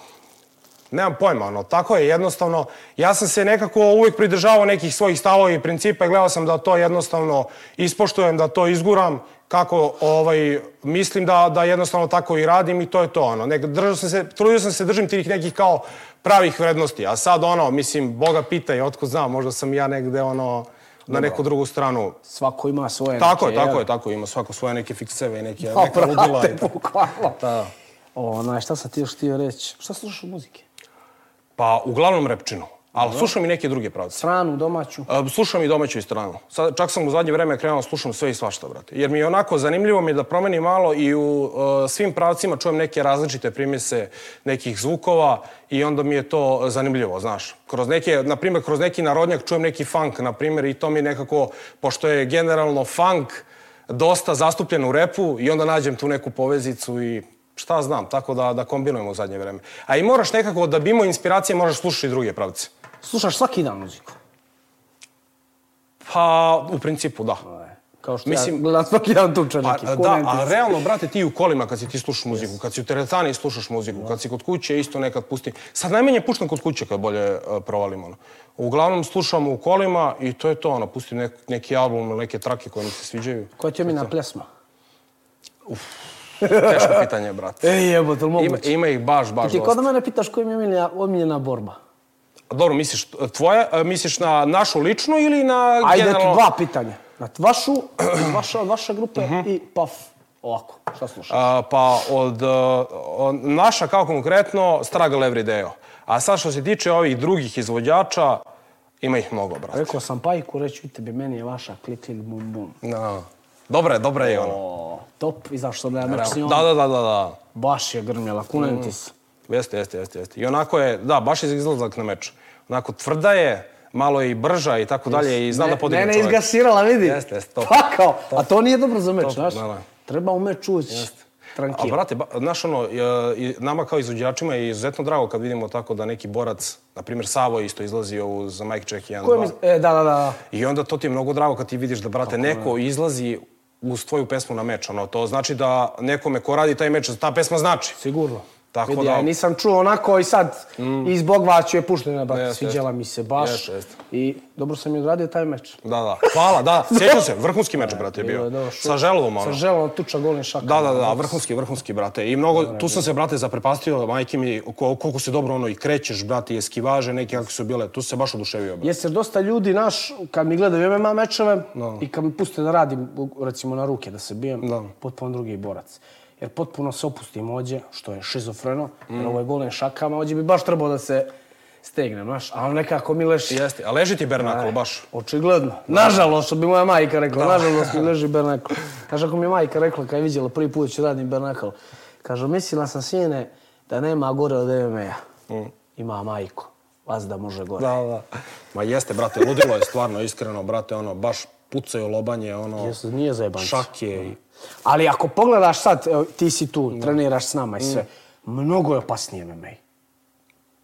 Speaker 2: nemam pojma, ono, tako je jednostavno. Ja sam se nekako uvijek pridržavao nekih svojih stavova i principa i gledao sam da to jednostavno ispoštujem, da to izguram kako ovaj, mislim da, da jednostavno tako i radim i to je to. Ono. Nek, držao sam se, trudio sam se držim tih nekih kao pravih vrednosti, a sad ono, mislim, Boga pitaj, otko znam, možda sam ja negde ono, na neku drugu stranu
Speaker 1: Svako ima svoje
Speaker 2: Tako je,
Speaker 1: neke,
Speaker 2: tako
Speaker 1: jel?
Speaker 2: je, tako je. Ima svako svoje neke fikseve i neke,
Speaker 1: Pa,
Speaker 2: neka ludila.
Speaker 1: brate,
Speaker 2: i tako.
Speaker 1: bukvalno.
Speaker 2: Da.
Speaker 1: Onaj, šta sam ti još htio reći? Šta slušaš od muzike?
Speaker 2: Pa, uglavnom repčinu. Ali slušam i neke druge pravce.
Speaker 1: Stranu, domaću?
Speaker 2: E, Slušam i domaću i stranu. Sad, čak sam u zadnje vreme krenuo da slušam sve i svašta, brate. Jer mi je onako zanimljivo mi je da promenim malo i u e, svim pravcima čujem neke različite primjese nekih zvukova i onda mi je to e, zanimljivo, znaš. Kroz neke, na primjer, kroz neki narodnjak čujem neki funk, na primjer, i to mi nekako, pošto je generalno funk dosta zastupljen u repu i onda nađem tu neku povezicu i šta znam, tako da, da kombinujemo u zadnje vreme. A i moraš nekako, da bi imao inspiracije, moraš slušati i druge pravce.
Speaker 1: Slušaš svaki dan muziku?
Speaker 2: Pa, u principu da.
Speaker 1: Ovaj, Kao što
Speaker 2: E, Mislim-
Speaker 1: ja gledam svaki dan tuča
Speaker 2: Pa,
Speaker 1: neki.
Speaker 2: da, a realno, brate, ti u kolima kad si ti slušaš muziku, kad si u teretani slušaš muziku, kad si kod kuće isto nekad pustim. Sad najmanje puštam kod kuće kad bolje e, provalim ono. Uglavnom slušam u kolima i to je to ono, pustim nek, neki album ili neke trake koje mi se sviđaju.
Speaker 1: Koja ti je mina plesma?
Speaker 2: Teško pitanje, brate.
Speaker 1: Ej, jebo, to li
Speaker 2: Ima,
Speaker 1: moguće?
Speaker 2: ima ih baš, baš
Speaker 1: Ti
Speaker 2: dosta.
Speaker 1: kao da mene pitaš koja mi je omiljena, omiljena borba?
Speaker 2: Dobro, misliš e, tvoje, e, misliš na našu ličnu ili na
Speaker 1: Ajde, eto,
Speaker 2: generalno? E,
Speaker 1: dva pitanja. Na vašu, vaša, vaša grupe i paf. Ovako, šta slušaš?
Speaker 2: Mhm. A, pa od, e, od naša kao konkretno Struggle Every Day. A sad što se tiče ovih drugih izvođača, ima ih mnogo, brate.
Speaker 1: Rekao sam Pajku, reći tebi, meni je vaša klik, klik, bum, bum.
Speaker 2: No. Dobro je, dobro je i ono.
Speaker 1: O, top, izašlo da ja znači on.
Speaker 2: Da, Mhm. da, da, da, da.
Speaker 1: Baš je grmjela, kunem ti se.
Speaker 2: Jeste, jeste, jeste, jeste. I onako je, da, baš je za izlazak na meč. Onako tvrda je, malo je i brža i tako dalje i zna da podigne
Speaker 1: Mene
Speaker 2: čovjek.
Speaker 1: izgasirala, vidi.
Speaker 2: Jeste, jeste, top.
Speaker 1: Pakao. A to nije dobro za meč, znaš?
Speaker 2: da, da.
Speaker 1: Treba u meč ući.
Speaker 2: A
Speaker 1: Trankilo.
Speaker 2: brate, ba, znaš ono, e, i nama kao izvođačima je izuzetno drago kad vidimo tako da neki borac, na primjer Savo je isto izlazio uz Mike Check 1-2.
Speaker 1: Ko je mi... E, da, da, da.
Speaker 2: I onda to ti je mnogo drago kad ti vidiš da, brate, neko izlazi uz tvoju pesmu na meč. Ono, to znači da nekome ko radi taj meč, ta pesma znači.
Speaker 1: Sigurno.
Speaker 2: Tako
Speaker 1: Vidi,
Speaker 2: da- Mm.
Speaker 1: ja nisam čuo onako i sad i zbog vas ću je puštena, brate.
Speaker 2: Jeste,
Speaker 1: Sviđala mi se baš.
Speaker 2: Jeste, jeste.
Speaker 1: I dobro sam i odradio taj meč.
Speaker 2: Da, da. Hvala, da. Sjećam se, vrhunski meč, brate, je
Speaker 1: Bilo je
Speaker 2: bio.
Speaker 1: dobro, šut.
Speaker 2: Sa želvom,
Speaker 1: Sa
Speaker 2: ono.
Speaker 1: želom tuča golim šakom.
Speaker 2: Da, da, da, vrhunski, vrhunski, brate. I mnogo, tu sam se, brate, zaprepastio, majke mi, ko- koliko se dobro, ono, i krećeš, brate, i eskivaže, neke kako su bile. Tu sam se baš oduševio, brate.
Speaker 1: Jeste, dosta ljudi, naš, kad mi gledaju MMA mečeve i kad mi puste da radim, u- recimo na ruke, da se bijem,
Speaker 2: Da.
Speaker 1: potpuno drugi borac. Jer potpuno se opustim ođe, što je šizofreno, jer ovo je golen šakama, ođe bi baš trebao da se stegnem, znaš, a on nekako mi leši.
Speaker 2: Jeste, a leži ti Bernakol, baš.
Speaker 1: Očigledno. Nažalost, što bi moja majka rekla, nažalost mi leži bernakl. Znaš, ako mi je majka rekla kad je vidjela prvi put ću radim bernakl, kaže, mislila sam sine da nema gore od MMA-a. Ima majko, vas Mm. da može gore.
Speaker 2: da. Ma jeste, brate, ludilo je stvarno, iskreno, brate, ono, baš pucaju lobanje, ono,
Speaker 1: Jesu, nije za jebanci.
Speaker 2: šake i...
Speaker 1: Ali ako pogledaš sad, evo, ti si tu, treniraš s nama i sve, mnogo je opasnije MMA.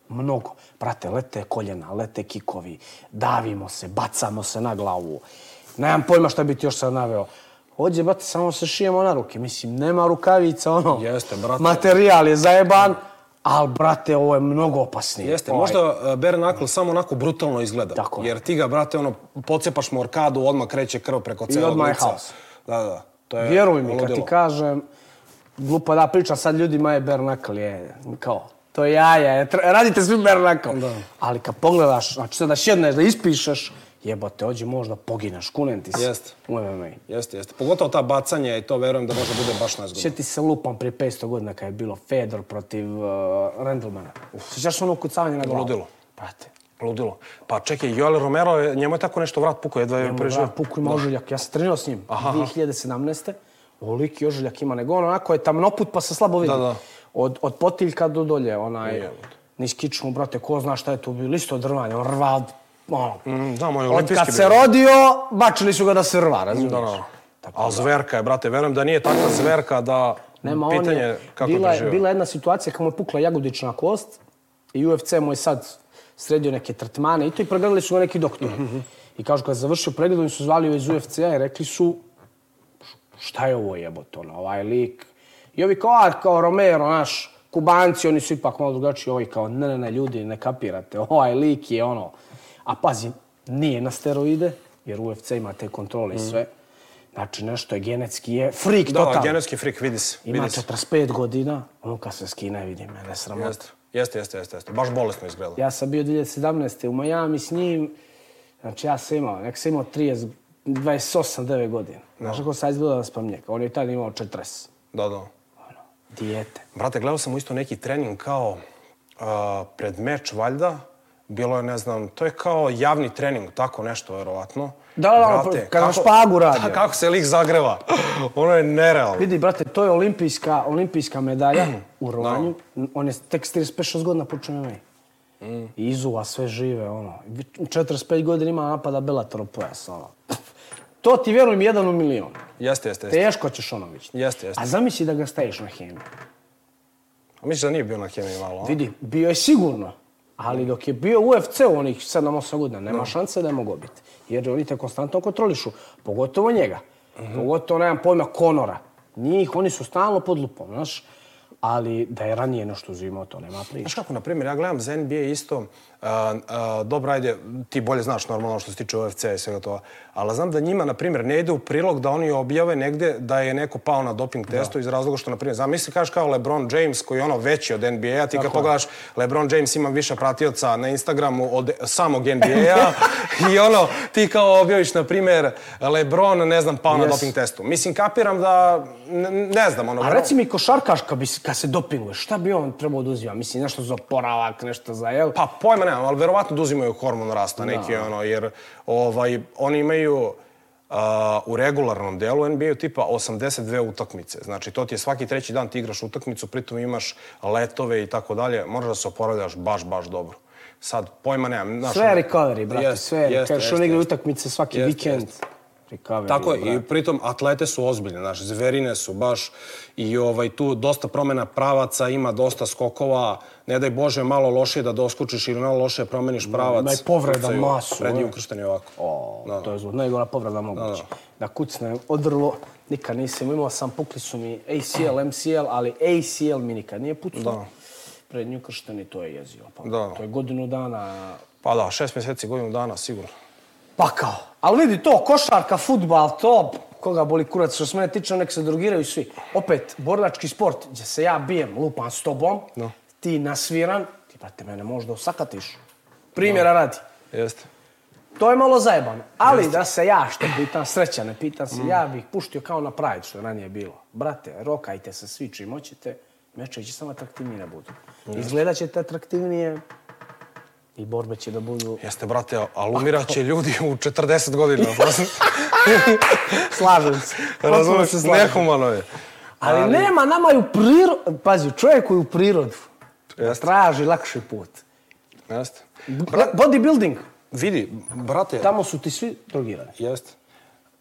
Speaker 1: Mnogo. Brate, lete koljena, lete kikovi, davimo se, bacamo se na glavu. Nemam pojma šta bi ti još sad naveo. Ođe, brate, samo se šijemo na ruke. Mislim, nema rukavica, ono.
Speaker 2: Jeste, brate.
Speaker 1: Materijal je zajeban, Al, brate, ovo je mnogo opasnije.
Speaker 2: Jeste,
Speaker 1: Ovaj,
Speaker 2: možda bare knuckle samo onako brutalno izgleda.
Speaker 1: Tako je.
Speaker 2: Jer ti ga, brate, ono, pocepaš mu arkadu, odmah kreće krv preko celog
Speaker 1: odmah je
Speaker 2: lica.
Speaker 1: haos.
Speaker 2: Da, da, to je
Speaker 1: Vjeruj mi, kad
Speaker 2: ludilo.
Speaker 1: ti kažem, glupa da priča sad ljudima je bernakal, je kao, to je jaja, je, tra- radite svi bernakal. Da. Ali kad pogledaš, znači sad da šedneš, da ispišeš, jebote, ođe možda pogineš, kunem ti se.
Speaker 2: Jeste.
Speaker 1: U MMA.
Speaker 2: Jeste, jeste. Pogotovo ta bacanja i to verujem da može bude baš nezgodno.
Speaker 1: Sjeti se lupam prije 500 godina kad je bilo Fedor protiv uh, Randlemana. Sjećaš ono kucavanje na glavu?
Speaker 2: Ludilo.
Speaker 1: Brate,
Speaker 2: Ludilo. Pa čekaj, Joel Romero, je- njemu je tako nešto vrat pukao, jedva je preživio.
Speaker 1: Preživio. Puku ima ožiljak. Ja sam trenirao s njim. 2017. Oliki ožiljak ima, nego on onako je tamnoput pa se slabo vidi.
Speaker 2: Da, da.
Speaker 1: Od, od potiljka do dolje, onaj...
Speaker 2: Jebote.
Speaker 1: Niz kičmu, brate, ko zna šta je tu bilo, isto drvanje, on rva od... Ono.
Speaker 2: Mm, znam, on je
Speaker 1: od
Speaker 2: olimpijski
Speaker 1: kad se
Speaker 2: bio.
Speaker 1: rodio, bačili su ga da se rva, razumiješ?
Speaker 2: Da, da. A zverka je, brate, verujem da nije takva zverka da
Speaker 1: Nema, on
Speaker 2: pitanje
Speaker 1: je,
Speaker 2: kako
Speaker 1: bila,
Speaker 2: je
Speaker 1: je,
Speaker 2: preživio.
Speaker 1: bila je jedna situacija kad mu je pukla jagodična kost i UFC mu je sad sredio neke tretmane i to i pregledali su ga neki doktori. I kažu kad je završio pregled, oni su zvali joj iz UFC-a i rekli su šta je ovo jebote, ono, ovaj lik. I ovi kao, a, kao Romero, naš, kubanci, oni su ipak malo drugačiji, ovi kao, ne, ne, ne, ljudi, ne kapirate, ovaj lik je ono. A pazi, nije na steroide, jer UFC ima te kontrole i sve. Znači, nešto je genetski, je freak
Speaker 2: Da,
Speaker 1: totalno.
Speaker 2: genetski frik, vidi se.
Speaker 1: Ima
Speaker 2: vidi se.
Speaker 1: 45 godina, on kad se skine vidi mene sramota.
Speaker 2: Jeste, jeste, jeste, jeste, jeste. Baš bolesno izgleda.
Speaker 1: Ja sam bio 2017. u Miami s njim, znači ja sam imao, nek sam imao 30, 28, 9 godina. Znaš kako sam izgledao na spamnjaka, on je tad imao 40.
Speaker 2: Da, da.
Speaker 1: Dijete.
Speaker 2: Brate, gledao sam mu isto neki trening kao a, pred meč, valjda. Bilo je, ne znam, to je kao javni trening, tako nešto, verovatno.
Speaker 1: Da, da, da, kad na špagu radi. ono.
Speaker 2: Da, kako se lik zagreva. ono je nerealno.
Speaker 1: Vidi, brate, to je olimpijska, olimpijska medalja u rovanju. On je tek s 35-6 godina počeo MMA. I izuva sve žive, ono. 45 godina ima napada Bellator pojas, ono. To ti vjerujem jedan u milion.
Speaker 2: Jeste, jeste, jeste.
Speaker 1: Teško ćeš ono vidjeti.
Speaker 2: Jeste, jeste.
Speaker 1: A zamisli da ga staviš na hemiju.
Speaker 2: Misliš da nije bio na kemiji malo, a?
Speaker 1: Vidi, bio je sigurno. Ali dok je bio u UFC u onih 7-8 godina, nema šanse da je mogo biti. Jer oni te konstantno kontrolišu. Pogotovo njega.
Speaker 2: Mhm.
Speaker 1: Pogotovo, nemam pojma, Konora. Njih, oni su stalno pod lupom, znaš. Ali da je ranije nešto uzimao, to nema priče.
Speaker 2: Znaš kako, na primjer, ja gledam za NBA isto, a, a, dobro, ajde, ti bolje znaš normalno što se tiče UFC-a i svega toga, ali znam da njima, na primjer, ne ide u prilog da oni objave negde da je neko pao na doping testu iz razloga što, na primjer, zamisli, kažeš kao LeBron James koji je ono veći od NBA-a, ti kad pogledaš, LeBron James ima više pratioca na Instagramu od samog NBA-a i ono, ti kao objaviš, na primjer, LeBron, ne znam, pao na
Speaker 1: Yes.
Speaker 2: doping testu. Mislim, kapiram da, ne, ne znam, ono...
Speaker 1: A reci mi, košarkaš kad, bi, se- kad se dopinguje, šta bi on trebao da uzima? Mislim, nešto za oporavak, nešto za jel?
Speaker 2: Pa pojma nemam, ali verovatno da uzimaju hormon rasta neki ono, jer ovaj, oni imaju a, u regularnom delu NBA-u tipa 82 utakmice. Znači, to ti je svaki treći dan ti igraš utakmicu, pritom imaš letove i tako dalje. Moraš da se oporavljaš baš, baš dobro. Sad, pojma nemam. Znaš,
Speaker 1: sve
Speaker 2: ono-
Speaker 1: je recovery, brate,
Speaker 2: Jest,
Speaker 1: sve je.
Speaker 2: jest,
Speaker 1: Kažeš,
Speaker 2: jest,
Speaker 1: on igra
Speaker 2: jest.
Speaker 1: utakmice svaki
Speaker 2: Jest,
Speaker 1: vikend.
Speaker 2: jest.
Speaker 1: Recovery,
Speaker 2: Tako je,
Speaker 1: brate.
Speaker 2: i pritom atlete su ozbiljne, znaš, zverine su baš i ovaj tu dosta promena pravaca, ima dosta skokova, ne daj Bože malo lošije da doskočiš ili malo lošije promeniš pravac.
Speaker 1: ima i povreda
Speaker 2: Kucaju,
Speaker 1: masu,
Speaker 2: Prednji
Speaker 1: e.
Speaker 2: ukršteni ovako.
Speaker 1: O, to je zlo. Najgora povreda moguća. Da, kucnem odrlo, nikad nisam imao, sam pukli su mi ACL, MCL, ali ACL mi nikad nije pucao. Da. Prednji ukršteni, to je jezio. Pa,
Speaker 2: Da.
Speaker 1: To je godinu dana
Speaker 2: Pa da, šest mjeseci, godinu dana, sigurno.
Speaker 1: pakao. Ali vidi to, košarka, futbal, to, koga boli kurac, što se mene tiče, nek se drogiraju svi. Opet, borilački sport, gdje se ja bijem, lupam s tobom,
Speaker 2: Da.
Speaker 1: ti nasviran, ti, brate, mene možda osakatiš. Primjera radi.
Speaker 2: Jeste.
Speaker 1: To je malo zajebano. Ali da se ja što pitan, sreća ne pitan se, ja bih puštio kao na Pride što je ranije bilo. Brate, rokajte se svi čim hoćete, mečevi će samo atraktivniji da budu. Izgledat ćete atraktivnije i borbe će da budu...
Speaker 2: Jeste, brate, ali umirat će ljudi u 40 godina. pa
Speaker 1: Slažem se. Potpuno
Speaker 2: Razumiješ,
Speaker 1: slažem.
Speaker 2: nehumano je.
Speaker 1: Ali, nema, nama je u prirodu... Pazi, čovjek koji je u prirodu da
Speaker 2: Jeste.
Speaker 1: traži lakši put.
Speaker 2: Jeste.
Speaker 1: Bodybuilding,
Speaker 2: Vidi, brate,
Speaker 1: tamo su ti svi drogirani.
Speaker 2: jeste.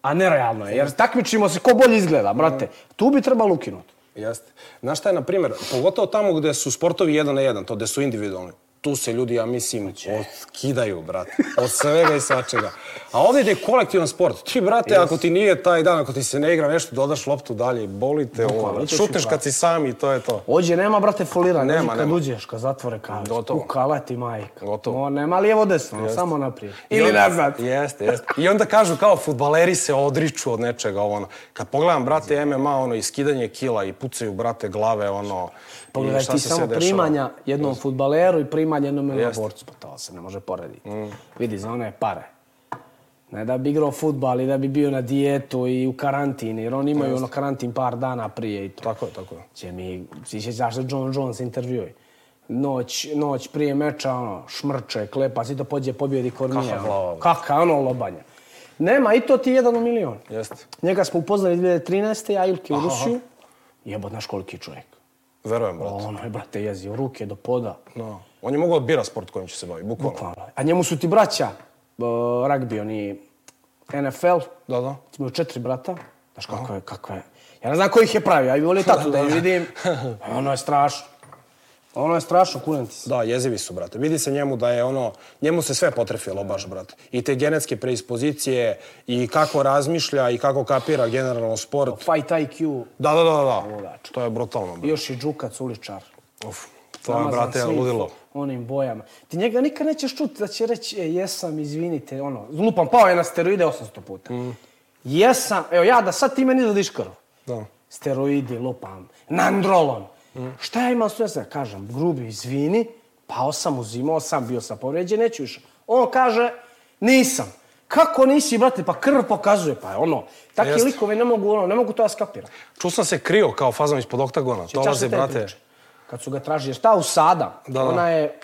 Speaker 1: A nerealno je, jer takmičimo se ko bolje izgleda, brate. Tu bi trebalo ukinuti.
Speaker 2: Jeste. Znaš šta je, na primjer, pogotovo tamo gdje su sportovi jedan na jedan, to gdje su individualni, tu se ljudi, ja mislim,
Speaker 1: Znači,
Speaker 2: otkidaju, brate. Od svega i svačega. A ovdje ide kolektivan sport. Ti, brate, yes. ako ti nije taj dan, ako ti se ne igra nešto, dodaš loptu dalje i boli te ovo. brate.
Speaker 1: to si
Speaker 2: Šutneš
Speaker 1: pravo.
Speaker 2: kad si sam i to je to.
Speaker 1: Ođe, nema, brate, foliranja. Nema,
Speaker 2: Nema,
Speaker 1: nema. Kad
Speaker 2: nema.
Speaker 1: uđeš, kad zatvore kao,
Speaker 2: Gotovo.
Speaker 1: ukala ti majka.
Speaker 2: Gotovo.
Speaker 1: No, nema lijevo desno, samo naprijed. Ili
Speaker 2: onda-
Speaker 1: nazad.
Speaker 2: Jeste, jeste. I onda kažu kao futbaleri se odriču od nečega, ovo ono. Kad pogledam, brate, MMA, ono, i skidanje kila i pucaju, brate, glave, ono,
Speaker 1: Pogledaj
Speaker 2: i šta
Speaker 1: ti
Speaker 2: se
Speaker 1: samo
Speaker 2: sve dešava.
Speaker 1: primanja jednom futbaleru i primanja jednom
Speaker 2: Jeste.
Speaker 1: borcu. Pa to se ne može porediti.
Speaker 2: Mm.
Speaker 1: Vidi, za one pare. Ne da bi igrao futbal i da bi bio na dijetu i u karantini, jer oni imaju ono karantin par dana prije i to.
Speaker 2: Tako je, tako je.
Speaker 1: Če mi, ti se znaš da John Jones intervjuj. Noć, noć prije meča, ono, šmrče, klepa, svi to pođe, pobjedi Kornija.
Speaker 2: Kaka glava, bre.
Speaker 1: Kaka, ono, lobanje. Nema, i to ti je jedan u milion.
Speaker 2: Jeste.
Speaker 1: Njega smo upoznali 2013. ja Ilke u Rusiju. Jebot, znaš koliki je čovjek.
Speaker 2: Verujem, brate.
Speaker 1: Ono je, brate, jezio ruke do poda.
Speaker 2: No. On je mogao da bira sport kojim će se bavi, bukvalno.
Speaker 1: Bukvalno. A njemu su ti braća, uh, ragbi, oni NFL.
Speaker 2: Da, da.
Speaker 1: Imaju četiri brata. Znaš kako je, kako je. Ja ne znam ko ih je pravio, ja bih volio tatu da je vidim. Ono je strašno. Ono je strašno, kunem ti se.
Speaker 2: Da, jezivi su, brate. Vidi se njemu da je ono, njemu se sve potrefilo baš, brate. I te genetske preispozicije, i kako razmišlja, i kako kapira generalno sport.
Speaker 1: Fight IQ,
Speaker 2: Da, da, da, da, da. To je brutalno, brate.
Speaker 1: još i Đukac, uličar.
Speaker 2: Uf, to je,
Speaker 1: Namazan
Speaker 2: brate,
Speaker 1: svim
Speaker 2: ludilo.
Speaker 1: Onim bojama. Ti njega nikad nećeš čuti da će reći, e, jesam, izvinite, ono, lupam, pao je na steroide 800 puta.
Speaker 2: Mm.
Speaker 1: Jesam, evo ja da sad ti meni dadiš krv.
Speaker 2: Da.
Speaker 1: steroidi, lupam, nandrolon. Šta ja imam stresa? Kažem, grubi, izvini, pao sam, uzimao sam, bio sam povređen, neću više. On kaže, nisam. Kako nisi, brate, pa krv pokazuje, pa ono. Takvi
Speaker 2: Jeste.
Speaker 1: likovi ne mogu, ono, ne mogu to ja skapiram.
Speaker 2: Čuo sam se krio kao fazom ispod oktagona.
Speaker 1: Čak
Speaker 2: Dolaze,
Speaker 1: se te
Speaker 2: brate.
Speaker 1: priče. Kad su ga tražili, šta u sada?
Speaker 2: Da, da.
Speaker 1: Ona je,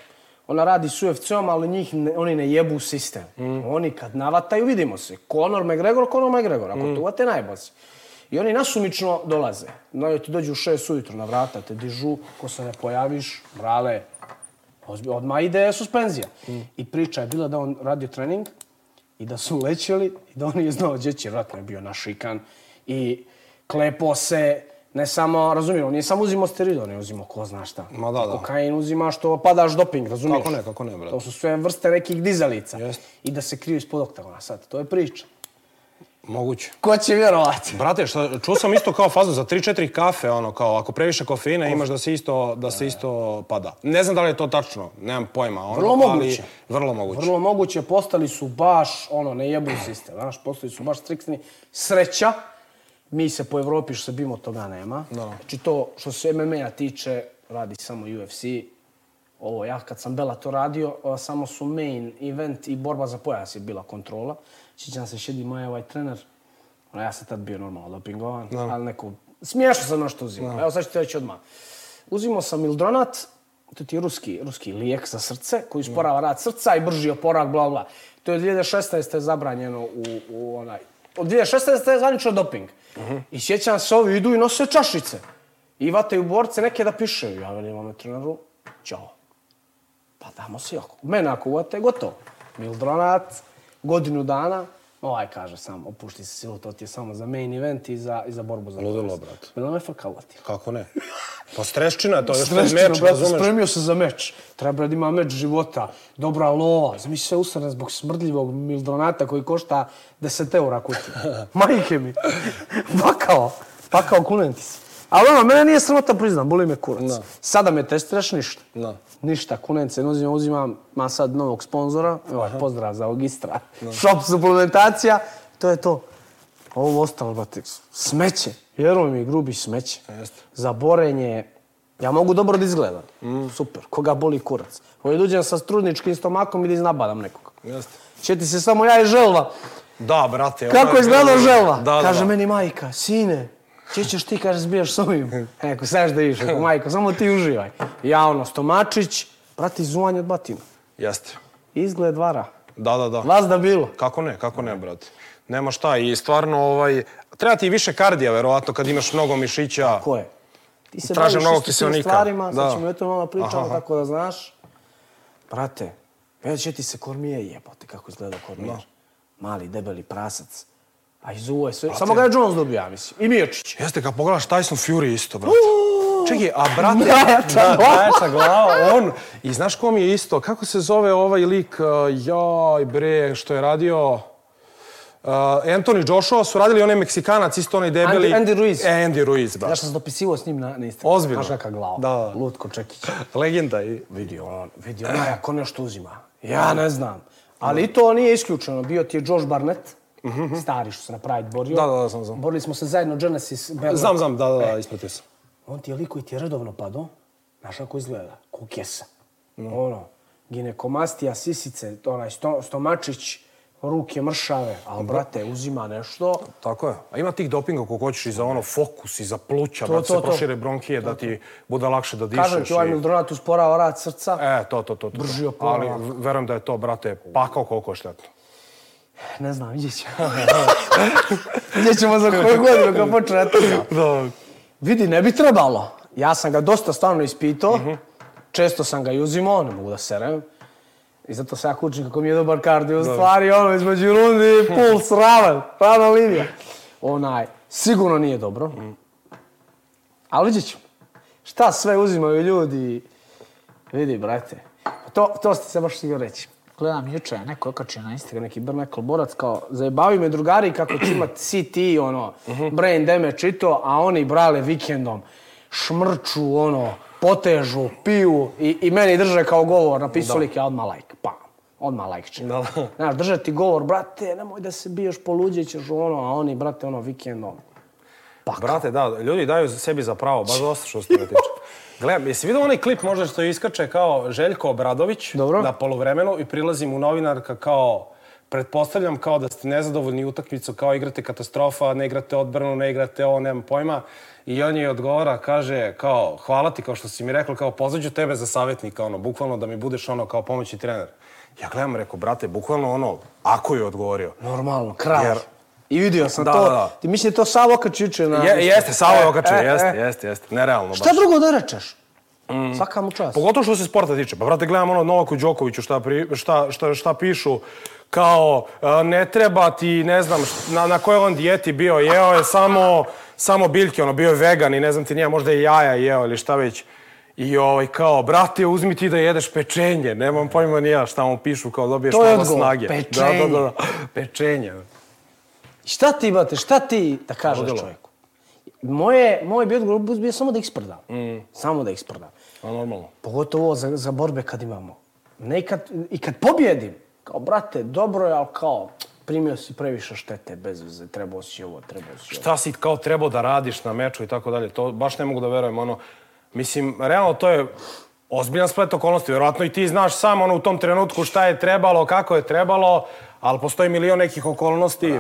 Speaker 1: ona radi s UFC-om, ali njih ne, oni ne jebu sistem. Oni kad navataju, vidimo se. Conor McGregor, Conor McGregor. Ako te uvate, najbolj si. I oni nasumično dolaze. No, ti dođu u šest ujutro na vrata, te dižu, ko se ne pojaviš, brale, ozbi- odmah ide suspenzija. I priča je bila da on radio trening i da su lećeli i da on nije znao gdje će, vratno je bio našikan. I klepo se, ne samo, razumijem, on nije samo uzimao steroide, on je uzimao ko zna šta.
Speaker 2: Ma da, da.
Speaker 1: Kokain uzimaš, to padaš doping, razumiješ?
Speaker 2: Kako ne, kako ne, brate.
Speaker 1: To su sve vrste nekih dizalica.
Speaker 2: Jeste.
Speaker 1: I da se kriju ispod oktagona sad, to je priča.
Speaker 2: Moguće.
Speaker 1: Ko će vjerovati?
Speaker 2: Brate, šta, čuo sam isto kao fazom za 3-4 kafe, ono kao ako previše kofeina imaš da se isto da se isto pada. Ne znam da li je to tačno, nemam pojma, ono,
Speaker 1: Vrlo
Speaker 2: ali
Speaker 1: moguće.
Speaker 2: vrlo moguće.
Speaker 1: Vrlo moguće, postali su baš, ono, ne jebu sistem, znaš, postali su baš striksni. Sreća, mi se po Evropi što se bimo toga nema.
Speaker 2: Da.
Speaker 1: Znači to što se MMA-a tiče, radi samo UFC. Ovo, ja kad sam Bela to radio, a, samo su main event i borba za pojas je bila kontrola. Sjećam se, šedi moj ovaj trener, ono, ja sam tad bio normalno dopingovan, ali neko, smiješno sam nešto uzimao. Evo sad ću ti reći odmah. Uzimao sam Ildronat, to ti je ruski, ruski lijek za srce, koji usporava rad srca i brži oporavak, bla, bla. To je 2016. zabranjeno u, u onaj... Od 2016. je zvanično doping. I sjećam se, ovi idu i nose čašice. I vataju borce neke da piše. Ja velim ovome treneru, čao. Pa damo si ako. Mene ako uvate, gotovo. Mildronat, godinu dana, ovaj kaže samo, opušti se silu, to ti je samo za main event i za, i za borbu za
Speaker 2: Ludilo,
Speaker 1: vlast.
Speaker 2: brate.
Speaker 1: Bilo me FK uvatilo.
Speaker 2: Kako ne? Pa streščina je to, još pred
Speaker 1: Strešćeno,
Speaker 2: meč,
Speaker 1: brate,
Speaker 2: razumeš?
Speaker 1: spremio se za meč. Treba da ima meč života, dobra lova. Zamisli sve usrane zbog smrdljivog mildronata koji košta 10 eura kutija. Majke mi. Pakao. Pakao, kunem ti se. Ali ono, mene nije sramota priznam, boli me kurac.
Speaker 2: Da.
Speaker 1: Sada me testiraš ništa.
Speaker 2: Da.
Speaker 1: Ništa, kunem se, ne uzimam, uzimam, ma sad novog sponzora, ovaj, pozdrav za Ogistra, shop suplementacija, to je to. Ovo ostalo, brate, smeće, vjeruj mi, grubi smeće.
Speaker 2: Jeste.
Speaker 1: Za borenje, ja mogu dobro da izgledam, super, koga boli kurac. Ovo je uđem sa strudničkim stomakom ili iznabadam nekoga.
Speaker 2: Jeste.
Speaker 1: Će ti se samo ja i želva.
Speaker 2: Da, brate. ono
Speaker 1: Kako je izgledao želva?
Speaker 2: Da, da,
Speaker 1: Kaže
Speaker 2: da.
Speaker 1: meni majka, sine, će ćeš ti, kaže, zbijaš s ovim. Eko, znaš da iš, eko, majko, samo ti uživaj. Ja ono, stomačić, prati zuvanje od batina.
Speaker 2: Jeste.
Speaker 1: Izgled vara.
Speaker 2: Da, da, da.
Speaker 1: Vas da bilo.
Speaker 2: Kako ne, kako ne, brate. Nema šta i stvarno, ovaj, treba ti više kardija, verovatno, kad imaš mnogo mišića.
Speaker 1: Ko je? Ti se
Speaker 2: Traže
Speaker 1: baviš
Speaker 2: mnogo
Speaker 1: isto tim
Speaker 2: kiseonika.
Speaker 1: stvarima,
Speaker 2: Da.
Speaker 1: sad ćemo i o tome malo pričamo,
Speaker 2: Aha.
Speaker 1: tako da znaš. Brate, već će ti se kormije jebote kako izgleda kormijer. Mali, debeli prasac. A iz uvo je sve. Samo ga je Jones dobio, ja mislim. I Mijočić.
Speaker 2: Jeste, kad pogledaš Tyson Fury isto, brate. Čekaj, a brate...
Speaker 1: Najjača
Speaker 2: da,
Speaker 1: glava.
Speaker 2: najjača glava, on. I znaš kom je isto? Kako se zove ovaj lik, uh, jaj bre, što je radio... Uh, Anthony Joshua su radili onaj Meksikanac, isto onaj debeli...
Speaker 1: Andy- Andy Ruiz.
Speaker 2: E, Andy Ruiz, brate.
Speaker 1: Znaš, sam se dopisivo s njim na, na Instagramu.
Speaker 2: Ozbiljno?
Speaker 1: Znaš kakav glava.
Speaker 2: Da.
Speaker 1: Lutko Čekić.
Speaker 2: Legenda i...
Speaker 1: Vidi on, vidi onaj ako nešto uzima. Ja ne znam. Ali i to nije isključeno. Bio ti je Josh Barnett, stari što se na Pride borio.
Speaker 2: Da, da, da, znam, znam.
Speaker 1: Borili smo se zajedno Genesis, Berlin.
Speaker 2: Znam, znam, da, da, da, ispratio sam.
Speaker 1: On ti je lik koji ti je redovno padao. Znaš kako izgleda? Ko kesa. Ono, ginekomastija, sisice, onaj sto, stomačić, ruke mršave. Ali, brate, uzima nešto.
Speaker 2: Tako je. A ima tih dopinga koliko hoćeš i za ono fokus i za pluća,
Speaker 1: To,
Speaker 2: da ti se
Speaker 1: to, to.
Speaker 2: prošire bronhije, da ti bude lakše da dišeš.
Speaker 1: Kažem ti, ovaj
Speaker 2: i-
Speaker 1: Mildronat usporava rad srca.
Speaker 2: E, to, to, to. to.
Speaker 1: Brži
Speaker 2: to.
Speaker 1: oporavak.
Speaker 2: Ali verujem da je to, brate, pakao koliko je štetno.
Speaker 1: Ne znam, vidjet ćemo. vidjet ćemo za koju godinu kad počne etika.
Speaker 2: Da.
Speaker 1: Vidi, ne bi trebalo. Ja sam ga dosta stvarno ispitao. Često sam ga i uzimao, ne mogu da serem. I zato se ja kučim kako mi je dobar kardio. U stvari, ono, između rundi, puls, ravan, ravna linija. Onaj, sigurno nije dobro. Ali vidjet ćemo. Šta sve uzimaju ljudi. Vidi, brate. Pa To, to ste se baš sigurno reći. Gledam juče, neko je okačio na Instagram neki brnekl borac kao zajebavi me drugari kako će imat CT, ono, brain damage i to, a oni brale vikendom šmrču, ono, potežu, piju i, i meni drže kao govor, napisao lik ja odmah like, pam, odmah like će.
Speaker 2: Da.
Speaker 1: Znaš, drže ti govor, brate, nemoj da se biješ, poluđit ćeš, ono, a oni, brate, ono, vikendom.
Speaker 2: Brate, da, ljudi daju sebi za pravo, baš dosta što se toga tiče. Gle, jesi vidio onaj klip možda što iskače kao Željko Obradović
Speaker 1: Dobro.
Speaker 2: na polovremenu i prilazi mu novinarka kao pretpostavljam kao da ste nezadovoljni utakmicu, kao igrate katastrofa, ne igrate odbranu, ne igrate ovo, nemam pojma. I on je odgovara, kaže, kao, hvala ti, kao što si mi rekla, kao, pozvaću tebe za savjetnika, ono, bukvalno da mi budeš, ono, kao pomoćni trener. Ja gledam, rekao, brate, bukvalno, ono, ako je odgovorio,
Speaker 1: Normalno, kralj.
Speaker 2: Jer-
Speaker 1: I vidio sam
Speaker 2: Da,
Speaker 1: to.
Speaker 2: da, da.
Speaker 1: Ti misli da je to Savo okačio juče na...
Speaker 2: Je, jeste, Savo je okačio,
Speaker 1: E, e,
Speaker 2: jeste, Mm.
Speaker 1: e.
Speaker 2: jeste, jeste. Nerealno baš.
Speaker 1: Šta drugo da rečeš? Svaka mu čast.
Speaker 2: Pogotovo što se sporta tiče. Pa, brate, gledam ono Novaku Đokoviću šta, pri, šta, šta, šta pišu kao e, ne treba ti, ne znam, št- na, na kojoj on dijeti bio, jeo je samo, samo biljke, ono, bio je vegan i ne znam ti nije, možda je jaja jeo ili šta već. I ovaj, kao, brate, uzmi ti da jedeš pečenje, nemam pojma ni ja šta mu pišu, kao dobiješ
Speaker 1: To je
Speaker 2: malo
Speaker 1: odgovor,
Speaker 2: snage. Da,
Speaker 1: pečenje.
Speaker 2: da, da, da. pečenje.
Speaker 1: Šta ti, brate, šta ti da kažeš
Speaker 2: Ludilo.
Speaker 1: čovjeku? Moje, moj bi odgovor bio samo da isprdam.
Speaker 2: Mm.
Speaker 1: Samo da isprdam.
Speaker 2: A pa, normalno.
Speaker 1: Pogotovo za, za borbe kad imamo. Ne i kad, i kad pobjedim, kao, brate, dobro je, ali kao, primio si previše štete, bez veze, trebao si ovo, trebao si ovo.
Speaker 2: šta si kao trebao da radiš na meču i tako dalje. To baš ne mogu da verujem. Ono, mislim, realno to je ozbiljan splet okolnosti. Vjerojatno i ti znaš sam ono, u tom trenutku šta je trebalo, kako je trebalo, ali postoji milion nekih okolnosti.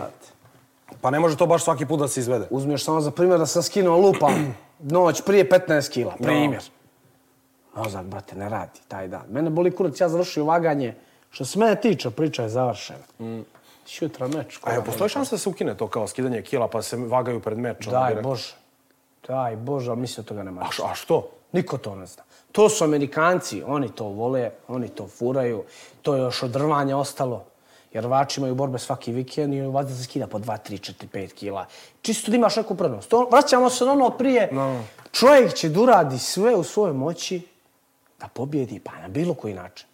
Speaker 2: Pa ne može to baš svaki put da se izvede.
Speaker 1: Uzmiješ samo za primjer da sam skinuo lupa noć prije 15 kila, primjer. Mozak, brate, ne radi taj dan. Mene boli kurac, ja završio vaganje. Što se mene tiče, priča je završena. Mm. Šutra meč.
Speaker 2: A
Speaker 1: koga
Speaker 2: jel
Speaker 1: boli.
Speaker 2: postoji šansa da se ukine to kao skidanje kila pa se vagaju pred meč? ono,
Speaker 1: Daj
Speaker 2: direkt?
Speaker 1: Bože. Daj Bože, ali mislim da toga nema.
Speaker 2: A, š- a što?
Speaker 1: Niko to ne zna. To su Amerikanci, oni to vole, oni to furaju. To je još od rvanja ostalo. Jer vači imaju borbe svaki vikend i vazda se skida po 2, 3, 4, 5 kila. Čisto da imaš neku prednost. To, vraćamo se na ono prije.
Speaker 2: No.
Speaker 1: Čovjek će da uradi sve u svojoj moći da pobjedi, pa na bilo koji način.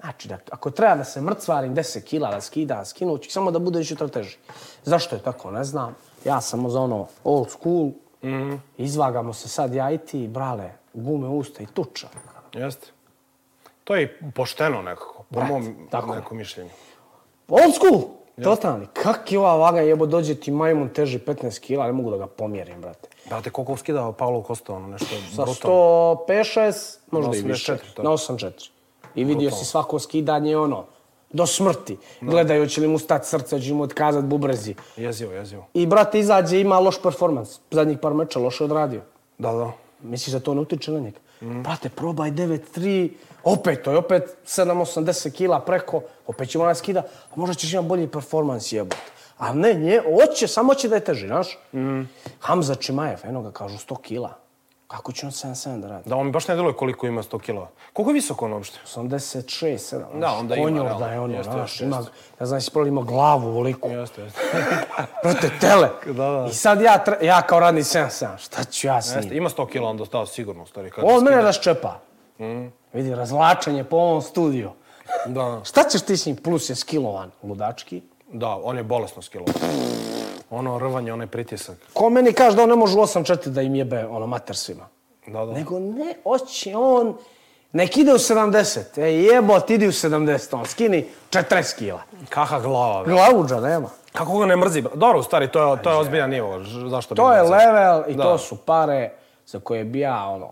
Speaker 1: Znači, da, ako treba da se mrcvarim 10 kila da skida, skinut ću, samo da bude jutra teži. Zašto je tako, ne znam. Ja sam za ono old school, Mhm. izvagamo se sad ja i ti, brale, gume usta i tuča.
Speaker 2: Jeste. To je i pošteno nekako, po
Speaker 1: Brate,
Speaker 2: mom
Speaker 1: tako je.
Speaker 2: nekom mišljenju.
Speaker 1: Old school! Totalni. Kak je ova vaga jebo dođe ti majmun teži 15 kila, ne mogu da ga pomjerim, brate.
Speaker 2: Brate, koliko skidao Paolo Kosta, ono nešto
Speaker 1: Sa
Speaker 2: brutalno.
Speaker 1: 156, možda i
Speaker 2: 84,
Speaker 1: više.
Speaker 2: tako.
Speaker 1: Na 84. I vidio si svako skidanje, ono, do smrti. Gledaju, hoće li mu stati srce, hoće li mu otkazat bubrezi.
Speaker 2: Jezivo, jezivo.
Speaker 1: I brate izađe, ima loš performans. Zadnjih par meča loše odradio.
Speaker 2: Da, da.
Speaker 1: Misliš da to ne utiče na njega? Brate, probaj 9-3, opet, to je opet 7-80 kila preko, opet ćemo nas skida, a možda ćeš imati bolji performans jebot. A ne, nje, hoće, samo će da je teži, znaš? Hamza Čimajev, eno ga kažu 100 kila. Kako će on 77 da radi?
Speaker 2: Da, on mi baš ne deluje koliko ima 100 kilova. Koliko je visok on uopšte?
Speaker 1: 86, 7.
Speaker 2: Da, onda ima,
Speaker 1: Konjor
Speaker 2: realno.
Speaker 1: da je ono,
Speaker 2: Jeste,
Speaker 1: znaš,
Speaker 2: jeste,
Speaker 1: ima,
Speaker 2: jeste.
Speaker 1: ja znam, si prvo ima glavu voliku.
Speaker 2: Jeste, jeste.
Speaker 1: Brate, tele.
Speaker 2: Da, da.
Speaker 1: I sad ja, tre- ja kao radni 77, šta ću ja s njim?
Speaker 2: jeste. Ima 100 kila onda stao sigurno, stari. Kad
Speaker 1: On mene raščepa. Vidi, razvlačenje po ovom studiju.
Speaker 2: Da,
Speaker 1: Šta ćeš ti s njim? Plus je skilovan, ludački.
Speaker 2: da, on je bolesno skilova. Ono rvanje, onaj pritisak.
Speaker 1: Ko meni kaže da on ne može u 8-4 da im jebe ono, mater svima.
Speaker 2: Da, da.
Speaker 1: Nego ne, oći on, nek ide u 70. E jebo, ti idi u 70, on skini 40 kila.
Speaker 2: Kaha glava. bre.
Speaker 1: Glavuđa nema.
Speaker 2: Kako ga ne mrzi? bra- Dobro, stari, to je, to je ozbiljan nivo. ž- Zašto bi
Speaker 1: To
Speaker 2: ga
Speaker 1: je
Speaker 2: mrzio?
Speaker 1: level i
Speaker 2: Da.
Speaker 1: to su pare za koje bi ja, ono,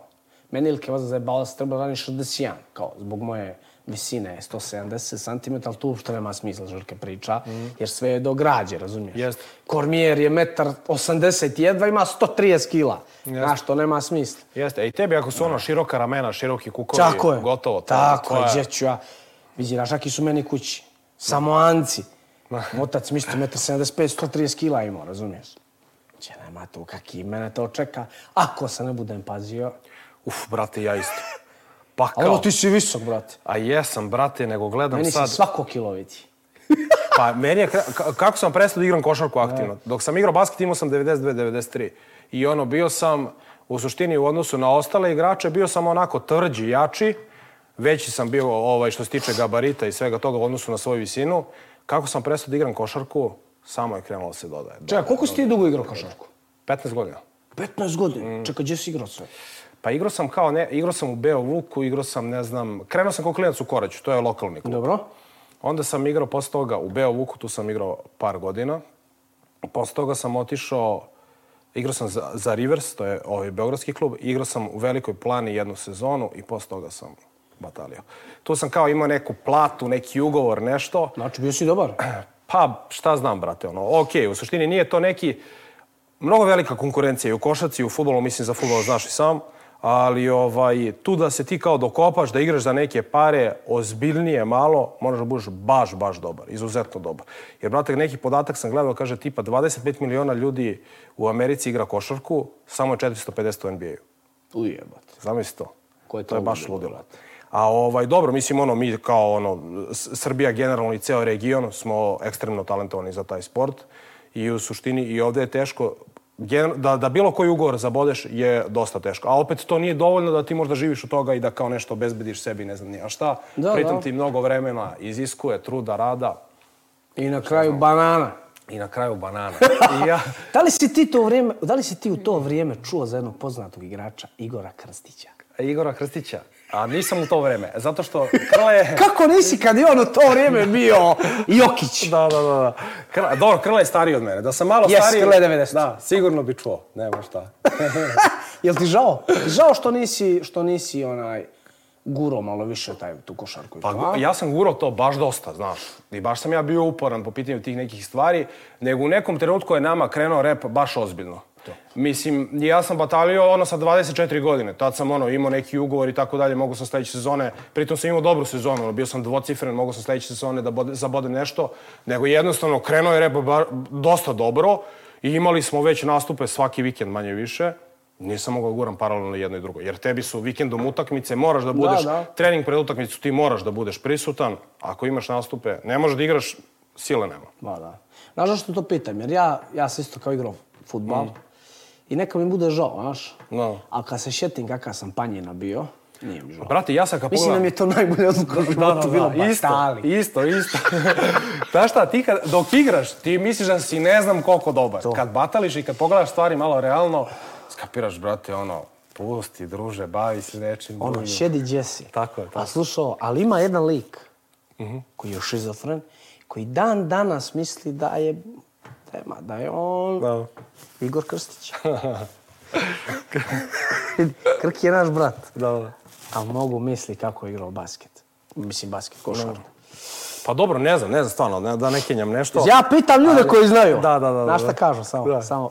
Speaker 1: meni Ilke Vaza zajebala se trebala rani 61, kao zbog moje visine 170 cm, ali tu uopšte nema smisla žrke priča, jer sve je do građe, razumiješ?
Speaker 2: Jeste.
Speaker 1: Kormijer je metar 80 jedva, ima 130 kila.
Speaker 2: Jeste.
Speaker 1: Znaš, to nema smisla.
Speaker 2: Jeste, e i tebi ako su ono široka ramena, široki kukovi,
Speaker 1: Tako je.
Speaker 2: gotovo. to-
Speaker 1: Tako
Speaker 2: to
Speaker 1: je, gdje ću ja. Vidi, rašaki su meni kući. Samo anci. Otac misli 1,75 m, 130 kila imao, razumiješ? Če nema to, kaki mene to čeka. Ako se ne budem pazio.
Speaker 2: Uf, brate, ja isto. Pa
Speaker 1: Ali
Speaker 2: kao,
Speaker 1: ovo ono ti si visok, brate.
Speaker 2: a jesam, brate, nego gledam
Speaker 1: Meni
Speaker 2: sad.
Speaker 1: si svako kilo vidi.
Speaker 2: Pa meni je, kra- ka- kako sam prestao da igram košarku aktivno. Dok sam igrao basket imao sam 92-93. I ono, bio sam, u suštini u odnosu na ostale igrače, bio sam onako tvrđi, jači. Veći sam bio ovaj, što se tiče gabarita i svega toga u odnosu na svoju visinu. Kako sam prestao da igram košarku, samo je krenulo da se dodaje.
Speaker 1: Čekaj, koliko si ti dugo igrao košarku?
Speaker 2: 15 godina.
Speaker 1: 15
Speaker 2: Mm.
Speaker 1: godina. Čekaj, gdje si igrao sve?
Speaker 2: Pa igrao sam kao ne, igrao sam u Beo Vuku, igrao sam, ne znam, krenuo sam kao klinac u Koraću, to je lokalni klub.
Speaker 1: Dobro.
Speaker 2: Onda sam igrao posle toga u Beo Vuku, tu sam igrao par godina. Posle toga sam otišao, igrao sam za, za Rivers, to je ovaj beogradski klub, igrao sam u Velikoj plani jednu sezonu i posle toga sam batalio. Tu sam kao imao neku platu, neki ugovor, nešto.
Speaker 1: Znači, bio si dobar.
Speaker 2: Pa, šta znam, brate, ono, okej, u suštini nije to neki... Mnogo velika konkurencija i u košaci, i u futbolu, mislim, za futbol znaš i sam, ali ovaj, tu da se ti kao dokopaš, da igraš za neke pare, ozbiljnije malo, moraš da budeš baš, baš dobar, izuzetno dobar. Jer, brate, neki podatak sam gledao, kaže, tipa 25 miliona ljudi u Americi igra košarku, samo je 450 u NBA-u.
Speaker 1: Ujebate.
Speaker 2: Zamisli to.
Speaker 1: Ko je
Speaker 2: to je
Speaker 1: to
Speaker 2: baš
Speaker 1: ludilo,
Speaker 2: ludilo. A ovaj, dobro, mislim, ono, mi kao ono, S- Srbija generalno i ceo region smo ekstremno talentovani za taj sport i u suštini i ovdje je teško gener- da, da bilo koji ugovor zabodeš je dosta teško. A opet to nije dovoljno da ti možda živiš od toga i da kao nešto obezbediš sebi, ne znam nija šta.
Speaker 1: Da,
Speaker 2: Pritom
Speaker 1: da.
Speaker 2: ti mnogo vremena iziskuje, truda, rada
Speaker 1: I na kraju banana.
Speaker 2: i na kraju banana. I ja,
Speaker 1: Da li, si ti to vrijeme, da li si ti u to vrijeme čuo za jednog poznatog igrača, Igora Krstića?
Speaker 2: Igora Krstića, a nisam u to vreme, zato što Krle...
Speaker 1: E. Kako nisi kad je on u to vrijeme bio Jokić?
Speaker 2: Da, da, da. da. Krla, dobro, Krla je stariji od mene. Da sam malo
Speaker 1: Jes,
Speaker 2: stariji...
Speaker 1: Krla je 90.
Speaker 2: Da, sigurno bi čuo. Nema šta.
Speaker 1: Jel ti žao? Žao što nisi, što nisi onaj guro malo više taj, tu košarku.
Speaker 2: Pa, gu- ja sam gurao to baš dosta, znaš. I baš sam ja bio uporan po pitanju tih nekih stvari, nego u nekom trenutku je nama krenuo rep baš ozbiljno. Mislim, ja sam batalio ono sa 24 godine. Tad sam ono imao neki ugovor i tako dalje, mogu sam sledeće sezone, pritom sam imao dobru sezonu, ono, bio sam dvocifren, mogu sam sledeće sezone da bode, zabodem nešto, nego jednostavno krenuo je rep ba, dosta dobro i imali smo već nastupe svaki vikend manje više. Nisam mogao da guram paralelno jedno i drugo, jer tebi su vikendom utakmice, moraš da budeš
Speaker 1: da.
Speaker 2: trening pred utakmicu ti moraš da budeš prisutan. Ako imaš nastupe, ne možeš da igraš, sile nema.
Speaker 1: Ba, da. Znaš zašto to pitam? Jer ja, ja sam isto kao igrao futbal.
Speaker 2: Mm.
Speaker 1: I neka mi bude žao, znaš?
Speaker 2: No.
Speaker 1: Ali kad se šetim kakav sam panjina bio, nije mi žao.
Speaker 2: Brate, ja sam kad
Speaker 1: Mislim da mi je to najbolje odluka u životu bilo
Speaker 2: isto,
Speaker 1: batali.
Speaker 2: isto, isto. Znaš šta, ti kad, dok igraš, ti misliš da si ne znam koliko dobar. Kad batališ i kad pogledaš stvari malo realno, skapiraš, brate, ono, pusti, druže, bavi se nečim
Speaker 1: Ono,
Speaker 2: drugim.
Speaker 1: Shady Jesse.
Speaker 2: Tako je, Mhm. tako.
Speaker 1: A slušao, ali ima jedan lik koji je šizofren, koji dan danas misli da je, da je, ma, da je on
Speaker 2: Da.
Speaker 1: Igor Krstić. Krk je naš brat.
Speaker 2: Da, da.
Speaker 1: A mogu misli kako je igrao basket. Mislim, basket, košarku.
Speaker 2: Pa dobro, ne znam, ne znam stvarno, ne- da ne kenjam nešto.
Speaker 1: Ja pitam ljude koji znaju.
Speaker 2: Da, da, da, da,
Speaker 1: Znaš
Speaker 2: da.
Speaker 1: šta kažu, samo,
Speaker 2: Da.
Speaker 1: samo.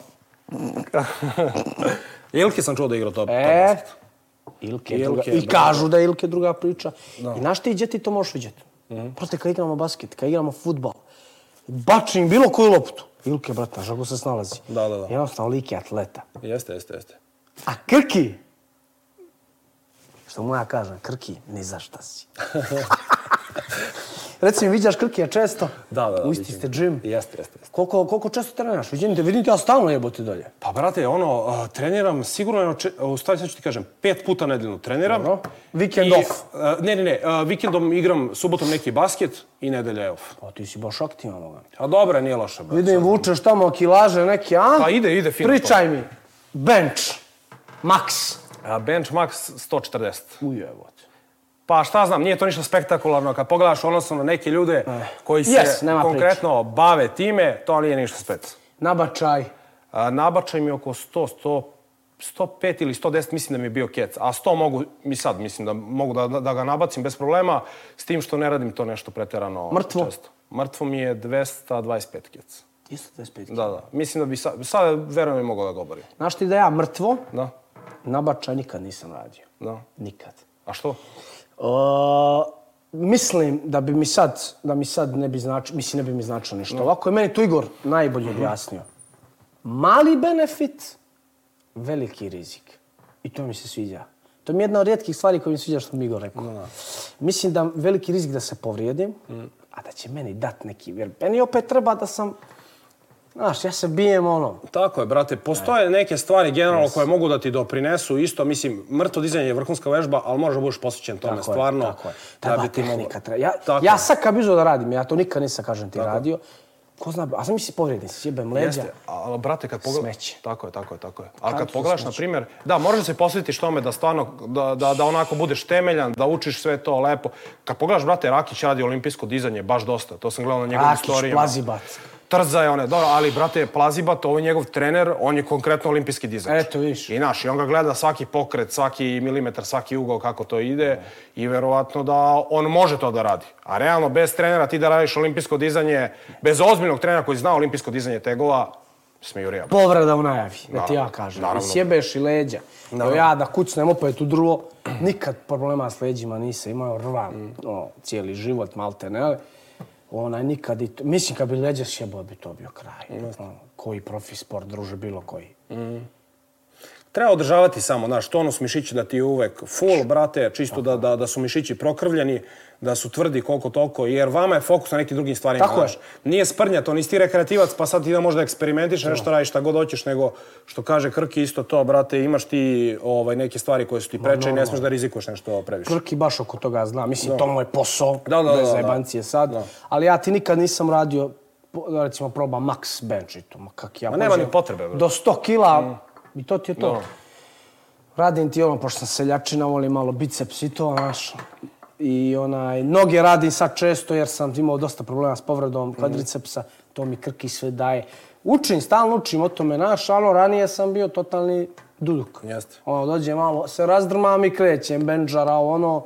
Speaker 2: Ilki sam čuo da igra to.
Speaker 1: E, Ilke, je
Speaker 2: Ilke
Speaker 1: druga,
Speaker 2: je
Speaker 1: I kažu da je Ilke druga priča. I znaš ti gdje ti to možeš vidjeti? Proste kad igramo basket, kad igramo futbal, bačim bilo koju loptu. Ilke, brate, znaš kako se snalazi.
Speaker 2: Da, da, da.
Speaker 1: Jednostavno, lik je atleta.
Speaker 2: Jeste, jeste, jeste.
Speaker 1: A Krki Što mu ja kažem, Krki, ni za šta si. Reci mi, viđaš Krkija često?
Speaker 3: Da, da, da.
Speaker 1: U isti
Speaker 3: vidim.
Speaker 1: ste džim.
Speaker 3: Jeste, jeste, jeste.
Speaker 1: Koliko, koliko često treniraš? Vidim te, vidim te, ja stalno jebote dolje.
Speaker 2: Pa, brate, ono, a, treniram sigurno, jedno če- a, u stvari sad ću ti kažem, pet puta nedeljno treniram.
Speaker 1: Dobro. Vikend off.
Speaker 2: a, ne, ne, ne, a, vikendom igram subotom neki basket i nedelja je off.
Speaker 1: Pa ti si baš aktivan ovoga.
Speaker 2: A dobro, nije loše, brate.
Speaker 1: Vidim, vučeš tamo kilaže neke, a?
Speaker 2: Pa ide, ide fino to.
Speaker 1: Pričaj mi. Bench. Max.
Speaker 2: A bench max 140.
Speaker 1: Ujevote.
Speaker 2: Pa šta znam, nije to ništa spektakularno. Kad pogledaš odnosno na neke ljude koji se
Speaker 1: Yes, Eh. nema
Speaker 2: konkretno bave time, to nije ništa spec.
Speaker 1: Nabačaj.
Speaker 2: A, nabačaj mi oko 100, 100, 105 ili 110 mislim da mi je bio kec. A 100 mogu i sad, mislim da mogu da, da, da ga nabacim bez problema, s tim što ne radim to nešto preterano
Speaker 1: Mrtvo?
Speaker 2: često. Mrtvo mi je 225 kec.
Speaker 1: 225 kg.
Speaker 2: Da, da. Mislim da bi sad, sad verujem i mogu da ga oborim.
Speaker 1: Znaš ti da ja mrtvo,
Speaker 2: Da,
Speaker 1: nabačaj nikad nisam radio.
Speaker 2: da.
Speaker 1: Nikad.
Speaker 2: A što?
Speaker 1: Uh, mislim da bi mi sad, da mi sad ne bi značilo, mislim ne bi mi značilo ništa. Ovako je meni to Igor najbolje objasnio. Mali benefit, veliki rizik. I to mi se sviđa. To mi je jedna od rijetkih stvari koja mi se sviđa što mi je Igor rekao. Mislim da veliki rizik da se povrijedim, a da će meni dat neki, jer meni opet treba da sam, znaš, ja se bijem ono,
Speaker 2: Tako je, brate. Postoje neke stvari generalno koje mogu da ti doprinesu. Isto, mislim, mrtvo dizanje je vrhunska vežba, ali možeš da budeš posvećen tome,
Speaker 1: Tako je,
Speaker 2: stvarno.
Speaker 1: tako je. Treba
Speaker 2: bi ti moglo-
Speaker 1: tehnika. Treba. Ja,
Speaker 2: Tako
Speaker 1: ja
Speaker 2: je.
Speaker 1: sad kad bi uzeo da radim, ja to nikad nisam, kažem ti, radio. Ko zna, a sam mi si povrijedni, si jebem leđa.
Speaker 2: Jeste, ali brate, kad pogledaš...
Speaker 1: Smeće.
Speaker 2: Tako je, tako je, tako je. Ali kad
Speaker 1: Kantu
Speaker 2: pogledaš, na primjer, da, možeš da se posvetiš tome da stvarno, da, da, da onako budeš temeljan, da učiš sve to lepo. Kad pogledaš, brate, Rakić radi olimpijsko dizanje, baš dosta. To sam gledao na njegovim
Speaker 1: Rakić,
Speaker 2: storijima.
Speaker 1: plazibat.
Speaker 2: Trza je one, dobro, ali brate, Plazibat, ovo je njegov trener, on je konkretno olimpijski dizač.
Speaker 1: Eto, vidiš.
Speaker 2: I naš, i on ga gleda svaki pokret, svaki milimetar, svaki ugao kako to ide i verovatno da on može to da radi. A realno, bez trenera ti da radiš olimpijsko dizanje, bez ozbiljnog trenera koji zna olimpijsko dizanje tegova, smiju rijabo.
Speaker 1: Povreda u najavi, da ti ja
Speaker 2: Naravno,
Speaker 1: kažem. I
Speaker 2: naravno.
Speaker 1: sjebeš i leđa. Evo ja da kucnem opet u drvo, nikad problema s leđima nisam imao, rvam ono, cijeli život, malte ne, ali onaj nikad i to, mislim kad bi leđa sjebao bi to bio kraj. Ono, koji profi sport, druže, bilo koji.
Speaker 2: Treba održavati samo, znaš, tonus mišića da ti je uvek full, brate, čisto da, da, da su mišići prokrvljeni, da su tvrdi koliko toliko, jer vama je fokus na nekim drugim stvarima.
Speaker 1: Tako je.
Speaker 2: znaš. Nije sprnja, to nisi ti rekreativac, pa sad ti da možda eksperimentiš, nešto radiš šta god hoćeš, nego što kaže Krki isto to, brate, imaš ti ovaj, neke stvari koje su ti preče i ne smiješ da rizikuješ nešto previše.
Speaker 1: Krki baš oko toga zna. Mislim, to mu je posao,
Speaker 2: Da, da, da,
Speaker 1: bez
Speaker 2: da.
Speaker 1: zajebancije sad. Ali ja ti nikad nisam radio, po- da recimo, proba max bench i to. Ma kak ja
Speaker 2: Ma nema
Speaker 1: pođem
Speaker 2: ni potrebe, bro.
Speaker 1: Do 100 kila i to ti je to.
Speaker 2: Da.
Speaker 1: Radim ti ono, pošto sam seljačina, volim malo biceps i to, znaš. I onaj, noge radim sad često jer sam imao dosta problema s
Speaker 2: Mm.
Speaker 1: povredom kvadricepsa. To mi krki sve daje. Učim, stalno učim o tome, naš, ali ranije sam bio totalni duduk.
Speaker 2: Jeste.
Speaker 1: Ono, dođe malo, se razdrmam i krećem, benđara, ovo, ono.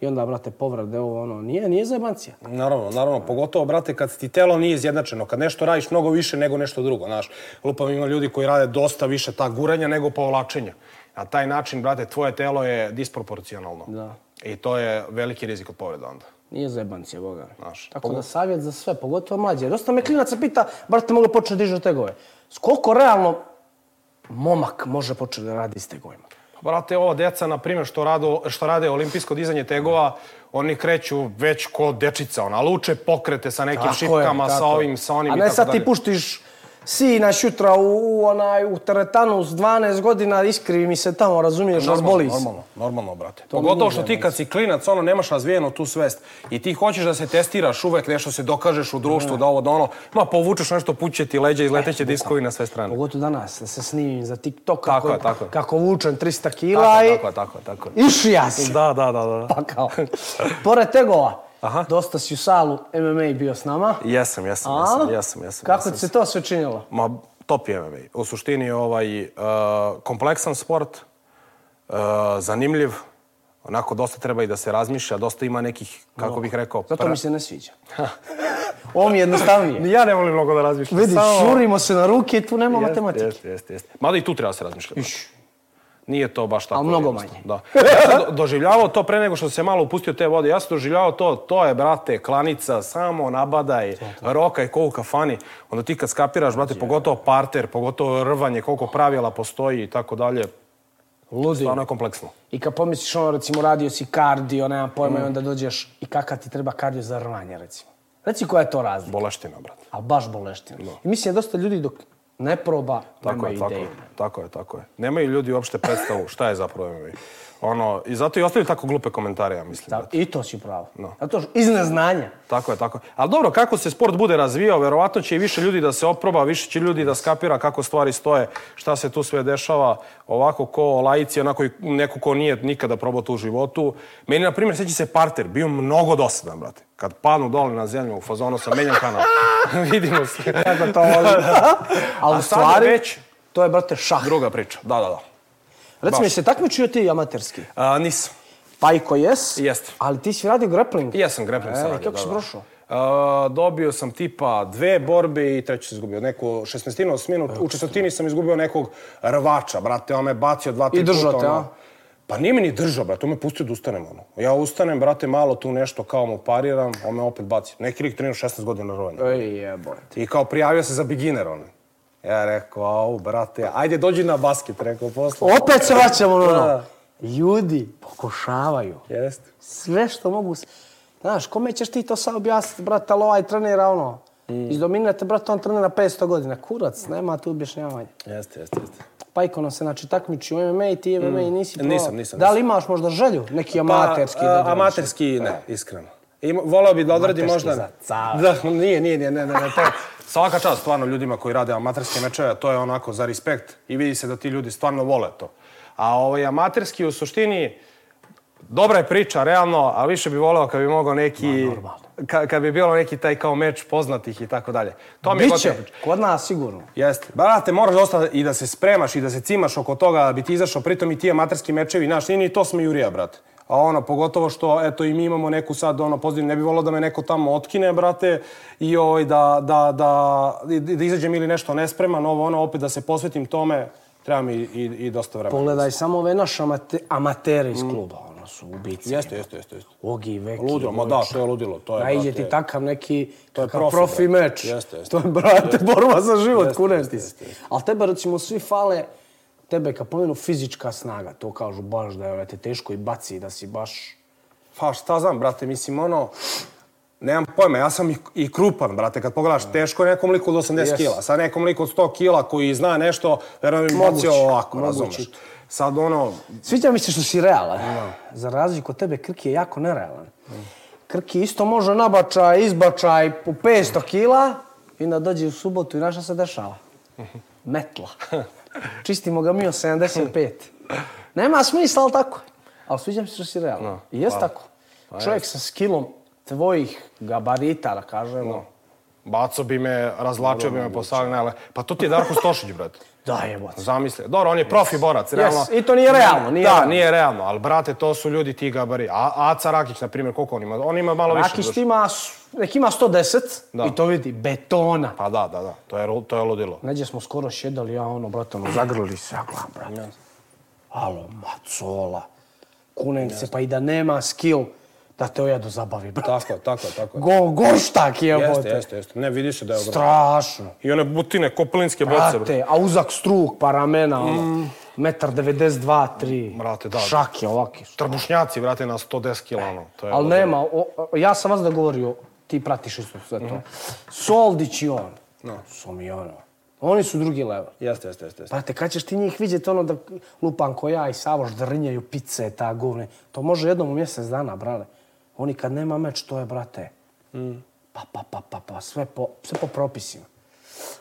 Speaker 1: I onda, brate, povrede, ovo, ono. Nije, nije zajebancija.
Speaker 2: Naravno, naravno, pogotovo, brate, kad ti telo nije izjednačeno, kad nešto radiš mnogo više nego nešto drugo, znaš. Lupam ima ljudi koji rade dosta više ta guranja nego povlačenja. Na taj način, brate, tvoje telo je disproporcionalno.
Speaker 1: Da.
Speaker 2: I to je veliki rizik od povreda onda.
Speaker 1: Nije zajebancija, boga. mi.
Speaker 2: Znaš,
Speaker 1: Tako da savjet za sve, pogotovo mlađe. Dosta me klinaca pita, bar te mogu početi dižu tegove. S koliko realno momak može početi da radi s tegovima?
Speaker 2: Pa, Brate, ova deca, na primjer, što, rado, što rade olimpijsko dizanje tegova, oni kreću već ko dečica, ona, luče pokrete sa nekim
Speaker 1: Tako je,
Speaker 2: šipkama, sa
Speaker 1: tako je.
Speaker 2: ovim, sa onim
Speaker 1: A
Speaker 2: i
Speaker 1: ne
Speaker 2: tako
Speaker 1: sad ti
Speaker 2: dalje.
Speaker 1: puštiš sina šutra u, u, onaj, u teretanu s 12 godina, iskrivi mi se tamo, razumiješ, razboli se.
Speaker 2: Normalno, normalno, brate.
Speaker 1: mi
Speaker 2: Pogotovo
Speaker 1: nije
Speaker 2: što ti
Speaker 1: zajednica.
Speaker 2: kad si klinac, ono, nemaš razvijenu tu svest. I ti hoćeš da se testiraš uvek, nešto se dokažeš u društvu, da ovo, da ono. Ma, povučeš nešto, puće ti leđa, izleteće diskovi na sve strane.
Speaker 1: Pogotovo danas, da se snimim za TikTok
Speaker 2: Tako
Speaker 1: kako,
Speaker 2: je, tako je.
Speaker 1: kako vučem 300 kila
Speaker 2: Tako,
Speaker 1: i
Speaker 2: tako, tako, tako.
Speaker 1: išija se.
Speaker 2: Da, da, da, da.
Speaker 1: Pa kao. Pored tegova,
Speaker 2: Aha.
Speaker 1: dosta si u salu MMA bio s nama.
Speaker 2: Jesam, jesam,
Speaker 1: A?
Speaker 2: jesam, jesam, jesam.
Speaker 1: Kako
Speaker 2: jesam.
Speaker 1: ti se to sve činilo?
Speaker 2: Ma, top je MMA. U suštini ovaj, uh, kompleksan sport, uh, zanimljiv, onako dosta treba i da se razmišlja, dosta ima nekih, kako bih rekao...
Speaker 1: Zato
Speaker 2: pra-
Speaker 1: mi se ne sviđa. Ovo mi je jednostavnije.
Speaker 2: Ni Pa- Ja ne volim mnogo da razmišljam.
Speaker 1: Vidi,
Speaker 2: samo-
Speaker 1: šurimo se na ruke i tu nema matematike.
Speaker 2: Jeste, jeste, jeste. Mada i tu treba se razmišljati. Nije to baš tako.
Speaker 1: Ali mnogo
Speaker 2: jednostavno, Da. Ja sam do- doživljavao to pre nego što sam se malo upustio te vode. Ja sam doživljavao to, to je, brate, klanica, samo nabadaj, roka i kovu kafani. Onda ti kad skapiraš, brate, pogotovo parter, pogotovo rvanje, koliko pravila postoji i tako dalje.
Speaker 1: Ludi.
Speaker 2: Stvarno je kompleksno.
Speaker 1: I kad pomisliš ono, recimo, radio si kardio, nema pojma, i
Speaker 2: Mm.
Speaker 1: onda dođeš i kakav ti treba kardio za rvanje, recimo. Reci koja je to razlika,
Speaker 2: Boleština, brate.
Speaker 1: ali baš boleština. I mislim da dosta ljudi dok ne proba,
Speaker 2: Tako
Speaker 1: nema
Speaker 2: je, tako je,
Speaker 1: ideju.
Speaker 2: tako je, tako je. Nemaju ljudi uopšte predstavu šta je zapravo MMA. Ono, i zato i ostavljaju tako glupe komentare, ja mislim.
Speaker 1: Da,
Speaker 2: brate.
Speaker 1: I to si pravo. Zato što iz neznanja.
Speaker 2: Tako je, tako je. Ali dobro, kako se sport bude razvijao, verovatno će i više ljudi da se oproba, više će ljudi da skapira kako stvari stoje, šta se tu sve dešava, ovako ko laici, onako i neko ko nije nikada probao to u životu. Meni, na primjer, sjeća se parter, bio mnogo dosadan, brate. Kad padnu dole na zemlju u fazonu sam menjam kanal. Vidimo se.
Speaker 1: Kako to volim. ali u
Speaker 2: A sad je
Speaker 1: stvari,
Speaker 2: već-
Speaker 1: to je, brate, šah.
Speaker 2: Druga priča, da, da, da.
Speaker 1: Reci
Speaker 2: baš.
Speaker 1: mi, se takmičio ti amaterski?
Speaker 2: A, nisam.
Speaker 1: Pa i ko jes,
Speaker 2: Jeste.
Speaker 1: ali ti si radio grappling.
Speaker 2: I Ja sam grappling
Speaker 1: E,
Speaker 2: sam radio.
Speaker 1: kako
Speaker 2: da,
Speaker 1: si
Speaker 2: da.
Speaker 1: prošao?
Speaker 2: A, dobio sam tipa dve borbe i treću sam izgubio. Neku 16 osminu, u četvrtini sam izgubio nekog rvača, brate, on me bacio dva, tri
Speaker 1: držao
Speaker 2: puta,
Speaker 1: te,
Speaker 2: ono.
Speaker 1: a?
Speaker 2: Pa nije me ni držao, brate, on me pustio da ustanem, ono. Ja ustanem, brate, malo tu nešto kao mu pariram, on me opet bacio. Neki lik trenio 16 godina rovanja.
Speaker 1: Ej, jebote.
Speaker 2: I kao prijavio se za beginner, ono. Ja rekao, au, brate, ajde dođi na basket, rekao, posle.
Speaker 1: Opet se vraćamo na ono.
Speaker 2: Da.
Speaker 1: Ljudi pokušavaju.
Speaker 2: Jeste.
Speaker 1: Sve što mogu... s- Znaš, kome ćeš ti to sad objasniti, brate, ali ovaj trenira ono. Mm. Izdominirate, brate, on trenira 500 godina. Kurac, nema tu objašnjavanja.
Speaker 2: Jeste, jeste, jeste.
Speaker 1: Pajko nam se, znači, takmiči u MMA, ti MMA nisi probao.
Speaker 2: Mm. Nisam, nisam,
Speaker 1: Da li imaš možda želju neki amaterski?
Speaker 2: Pa,
Speaker 1: da
Speaker 2: a,
Speaker 1: dođeš?
Speaker 2: amaterski ne, iskreno. I volao bi da odradi
Speaker 1: Amaterski
Speaker 2: možda...
Speaker 1: za car.
Speaker 2: Da, nije, nije, nije, ne, ne, ne. To, svaka čast stvarno ljudima koji rade amaterske mečeve, to je onako za respekt i vidi se da ti ljudi stvarno vole to. A ovaj amaterski u suštini, dobra je priča, realno, a više bi voleo kad bi mogao neki... Ka, kad bi bilo neki taj kao meč poznatih i tako dalje. To mi je
Speaker 1: Biće,
Speaker 2: gotivna priča.
Speaker 1: kod nas sigurno.
Speaker 2: Jeste. Brate, moraš dosta i da se spremaš i da se cimaš oko toga da bi ti izašao. Pritom i ti amaterski mečevi, znaš, nije ni to smejurija, brate. A ono, pogotovo što, eto, i mi imamo neku sad, ono, pozivnu, ne bi volao da me neko tamo otkine, brate, i ovaj, da, da, da, i- da izađem ili nešto nespreman, ovo, ono, opet da se posvetim tome, treba mi i, i, i dosta vremena.
Speaker 1: Pogledaj samo ove naše amate, amatere iz kluba, ono su ubici.
Speaker 2: Jeste, jeste, jeste, jeste.
Speaker 1: Ogi, Veki,
Speaker 2: Ludilo, ma da, to je ludilo, to je,
Speaker 1: Najde
Speaker 2: brate.
Speaker 1: ti takav neki to je profi,
Speaker 2: profi,
Speaker 1: profi
Speaker 2: brate.
Speaker 1: meč.
Speaker 2: Jeste, jeste.
Speaker 1: To je, brate, borba za život,
Speaker 2: Jeste,
Speaker 1: kunem
Speaker 2: jeste,
Speaker 1: ti se.
Speaker 2: jeste,
Speaker 1: Ali tebe, recimo, svi fale, tebe kad pomenu fizička snaga, to kažu baš da je ono, te teško i baci, da si baš...
Speaker 2: Pa šta znam, brate, mislim, ono, nemam pojma, ja sam i, i krupan, brate, kad pogledaš, teško je nekom liku od 80
Speaker 1: Yes.
Speaker 2: yes. kila, sa nekom liku od 100 kila koji zna nešto, verujem im
Speaker 1: Moguće,
Speaker 2: bacio ovako,
Speaker 1: moguće.
Speaker 2: razumeš. Sad ono,
Speaker 1: Sviđa mi se što si realan. Za razliku od tebe, Krki je jako nerealan. Krki isto može nabačaj, izbačaj po 500 kila i onda dođe u subotu i naša se dešava. Metla. Čistimo ga mi od 75. Nema smisla, ali tako je. Ali sviđa mi se što si realan. I jest tako.
Speaker 2: Pa
Speaker 1: Čovjek sa skilom tvojih gabarita, da kažemo.
Speaker 2: baco bi me, razlačio bi me po sali, ne, pa to ti je Darko Stošić, brate.
Speaker 1: Da jebote.
Speaker 2: Zamisli. Dobro, on je profi borac, realno.
Speaker 1: i to nije realno, nije
Speaker 2: da,
Speaker 1: realno.
Speaker 2: nije realno, ali brate, to su ljudi ti gabari. A, Aca Rakić, na primjer, koliko on ima? On ima malo više.
Speaker 1: Rakić ti ima, s- nek ima 110
Speaker 2: Da.
Speaker 1: i to vidi, betona.
Speaker 2: Pa da, da, da, to je, ru- to je ludilo.
Speaker 1: Neđe smo skoro šedali, ja ono, brate, ono, zagrlili se, ja gledam, brate. Alo, macola. Kunem se, pa i da nema skill, da te ojedu zabavi, brate.
Speaker 2: Tako, je, tako, je, tako. je.
Speaker 1: Go, goštak je,
Speaker 2: Jeste,
Speaker 1: jebote.
Speaker 2: jeste, jeste. Ne, vidi se da je ogroman.
Speaker 1: Strašno.
Speaker 2: I one butine, kopelinske boce, brate. Mm.
Speaker 1: Brate, a uzak struk, pa ramena, ono, metar 92, 3.
Speaker 2: Brate, da.
Speaker 1: Šake ovake. su.
Speaker 2: Trbušnjaci, vrate, na 110 kila, ono. To je
Speaker 1: Ali
Speaker 2: ono.
Speaker 1: nema, o, o, ja sam vas dogovorio, ti pratiš isto sve
Speaker 2: Mhm.
Speaker 1: to. Soldić i on. No. Su mi ono. Oni su drugi level.
Speaker 2: Jeste, jeste, jeste. jeste.
Speaker 1: Brate, kad ćeš ti njih vidjeti ono da lupan ko ja i Savoš drnjaju pice, ta govne. To može jednom u mjesec dana, brale. Oni kad nema meč, to je, brate, pa, pa, pa, pa, pa, sve po, sve po propisima.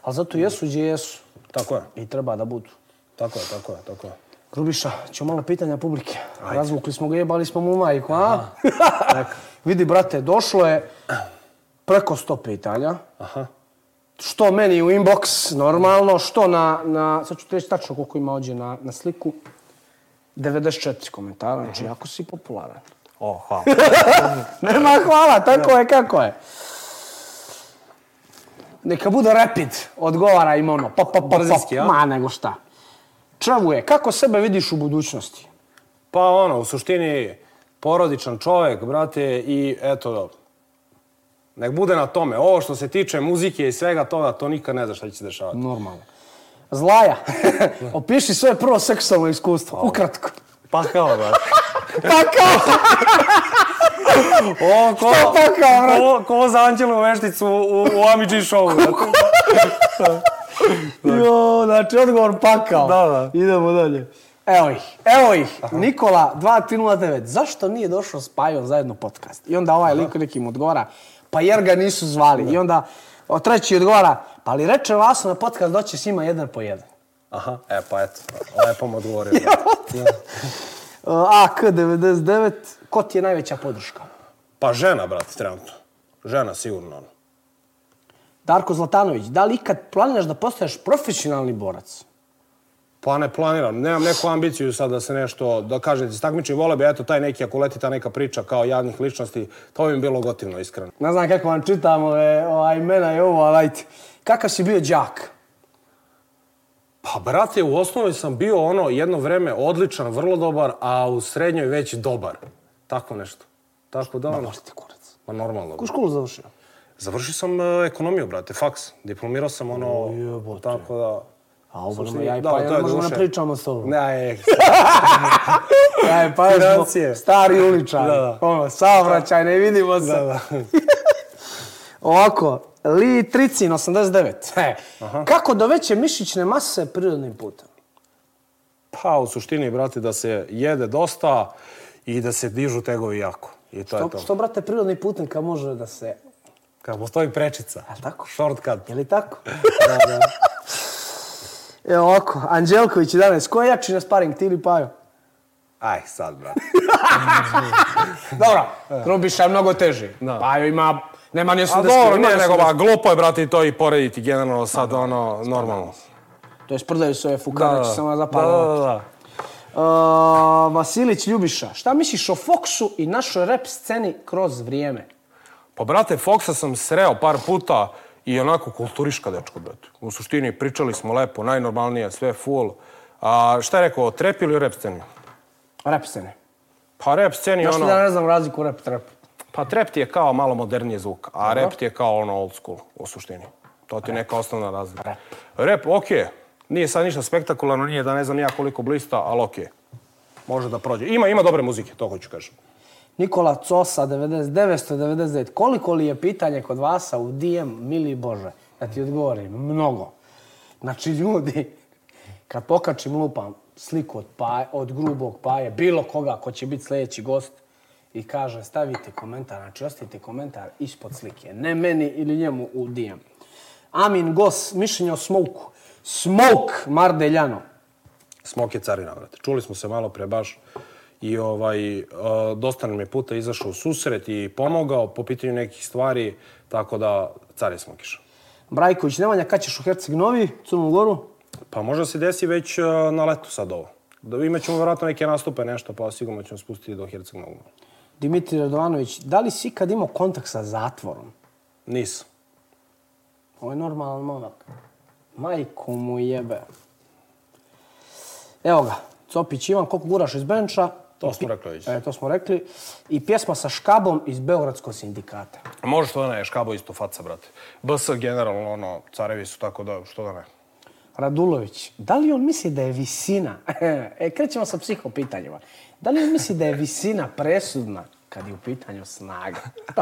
Speaker 1: Ali zato jesu gdje jesu.
Speaker 2: Tako je,
Speaker 1: I treba da budu.
Speaker 2: tako je, tako je, tako je.
Speaker 1: Grubiša, ću malo pitanja publike. Razvukli smo ga, jebali smo mu majku, a? Vidi, brate, došlo je preko 100 pitanja.
Speaker 2: Aha.
Speaker 1: Što meni u inbox, normalno, što na, na sad ću ti reći tačno koliko ima ovdje na, na sliku, 94 komentara, znači
Speaker 2: Mhm.
Speaker 1: jako si popularan.
Speaker 2: O, hvala.
Speaker 1: Nema hvala, tako je kako je. Neka bude rapid, odgovara im ono, pop, pop, pop,
Speaker 2: Brzinski,
Speaker 1: pop,
Speaker 2: a?
Speaker 1: ma nego šta. Čavuje, kako sebe vidiš u budućnosti?
Speaker 2: pa ono, u suštini, porodičan čovjek, brate, i eto, nek bude na tome. Ovo što se tiče muzike i svega toga, to nikad ne zna šta će se dešavati.
Speaker 1: Normalno. Zlaja, opiši svoje prvo seksualno iskustvo, ukratko.
Speaker 2: Pa kao, brate.
Speaker 1: Pa kao,
Speaker 2: O, ko,
Speaker 1: Šta pa kao, brate?
Speaker 2: ko, ko za Anđelu Vešticu u, u Amidži show, brate.
Speaker 1: jo, znači odgovor pakao.
Speaker 2: Da, da.
Speaker 1: Idemo dalje. Evo ih, evo ih, Nikola 2309. Zašto nije došao s Pajom zajedno u podcast? I onda ovaj lik nekim odgovara, pa jer ga nisu zvali. I onda o, treći odgovara, pa li reče Vaso na podcast doći s njima jedan po jedan.
Speaker 2: Aha, e, pa eto. Lepo mu odgovorio.
Speaker 1: Uh, AK99, ko ti je najveća podrška?
Speaker 2: Pa žena, brate, trenutno. Žena, sigurno. Ono.
Speaker 1: Darko Zlatanović, da li ikad planiraš da postaneš profesionalni borac?
Speaker 2: Pa ne planiram, nemam neku ambiciju sad da se nešto, da kažem ti, stakmiči vole bi, eto, taj neki, ako leti ta neka priča kao javnih ličnosti, to bi mi bilo gotivno, iskreno.
Speaker 1: Ne znam kako vam čitam ove, ova imena i ovo, ali ajte. Kakav si bio džak?
Speaker 2: Pa, brate, u osnovi sam bio ono jedno vreme odličan, vrlo dobar, a u srednjoj već dobar. Tako nešto. Tako da, ono,
Speaker 1: Možete kurac.
Speaker 2: ma normalno.
Speaker 1: U školu završio?
Speaker 2: Završio sam e, ekonomiju, brate, faks. Diplomirao sam ono,
Speaker 1: jebote.
Speaker 2: tako da...
Speaker 1: A ovo
Speaker 2: Suština-
Speaker 1: nam ja i
Speaker 2: da,
Speaker 1: pa
Speaker 2: to
Speaker 1: ja
Speaker 2: je
Speaker 1: možemo
Speaker 2: doduše.
Speaker 1: ne pričamo s tobom.
Speaker 2: Ne, e,
Speaker 1: Ja i pa još smo
Speaker 2: Financije.
Speaker 1: stari uličar.
Speaker 2: Da, da.
Speaker 1: Ono, saobraćaj, ne vidimo se.
Speaker 2: da.
Speaker 1: Ovako, Li Tricin, 89. He. Kako do veće mišićne mase prirodnim putem?
Speaker 2: Pa, u suštini, brate, da se jede dosta i da se dižu tegovi jako. I to je
Speaker 1: Što,
Speaker 2: to.
Speaker 1: što, brate, prirodni putem kad može da se...
Speaker 2: Kad postoji prečica.
Speaker 1: A tako?
Speaker 2: Shortcut.
Speaker 1: Je li tako? da, da. Evo ovako, Anđelković 11. Ko je jači na sparing, ti ili Pajo?
Speaker 2: Aj, sad, brate.
Speaker 1: Dobro, Rubiša je mnogo teži. Da.
Speaker 2: Pa
Speaker 1: Pajo ima, nema ni 80.
Speaker 2: A dobro,
Speaker 1: ima
Speaker 2: ne,
Speaker 1: 80.
Speaker 2: nego, ba, glupo je, brate, i to i porediti generalno sad, ono, normalno.
Speaker 1: To je sprdaju se ove fukane, samo na zapadu.
Speaker 2: Da, da, da.
Speaker 1: Uh, Vasilić Ljubiša, šta misliš o Foxu i našoj rap sceni kroz vrijeme?
Speaker 2: Pa, brate, Foxa sam sreo par puta i onako kulturiška dečko, brate. U suštini, pričali smo lepo, najnormalnije, sve full. A šta je rekao, o trep ili o rap sceni?
Speaker 1: Rap scene.
Speaker 2: Pa rap sceni,
Speaker 1: Još
Speaker 2: ono...
Speaker 1: ono... da ne znam razliku rap trap.
Speaker 2: Pa trap ti je kao malo moderniji zvuk, a rap ti je kao ono old school u suštini. To ti je neka osnovna razlika.
Speaker 1: Rap.
Speaker 2: Rap, okej. Nije sad ništa spektakularno, nije da ne znam ja koliko blista, ali okej. Može da prođe. Ima, ima dobre muzike, to hoću kažem.
Speaker 1: Nikola Cosa, 90, 999. Koliko li je pitanje kod vasa u DM, mili Bože? Da ti odgovorim, mnogo. Znači, ljudi, kad pokačim lupam sliku od, paje, od grubog paje, bilo koga ko će biti sljedeći gost, i kaže stavite komentar, znači ostavite komentar ispod slike. Ne meni ili njemu u DM. Amin Gos, mišljenje o Smoku. Smoke Mardeljano.
Speaker 2: Smok je carina, brate. Čuli smo se malo pre baš i ovaj, e, dosta nam je puta izašao u susret i pomogao po pitanju nekih stvari, tako da car je Smokiša.
Speaker 1: Brajković Nemanja, kad ćeš u Herceg Novi, Crnu Goru?
Speaker 2: Pa možda se desi već e, na letu sad ovo. Da, imaćemo vjerojatno neke nastupe, nešto, pa sigurno ćemo spustiti do Herceg Novog.
Speaker 1: Dimitri Radovanović, da li si ikad imao kontakt sa zatvorom?
Speaker 2: Nisam.
Speaker 1: Ovo je normalan momak. Majku mu jebe. Evo ga, Copić Ivan, koliko guraš iz benča?
Speaker 2: To smo rekli već.
Speaker 1: E, to smo rekli. I pjesma sa Škabom iz Beogradskog sindikata.
Speaker 2: Može što da ne, Škabo isto faca, brate. BS generalno, ono, carevi su tako da, što da ne.
Speaker 1: Radulović, da li on misli da je visina, e, krećemo sa psihopitanjima, da li on misli da je visina presudna kad je u pitanju snaga?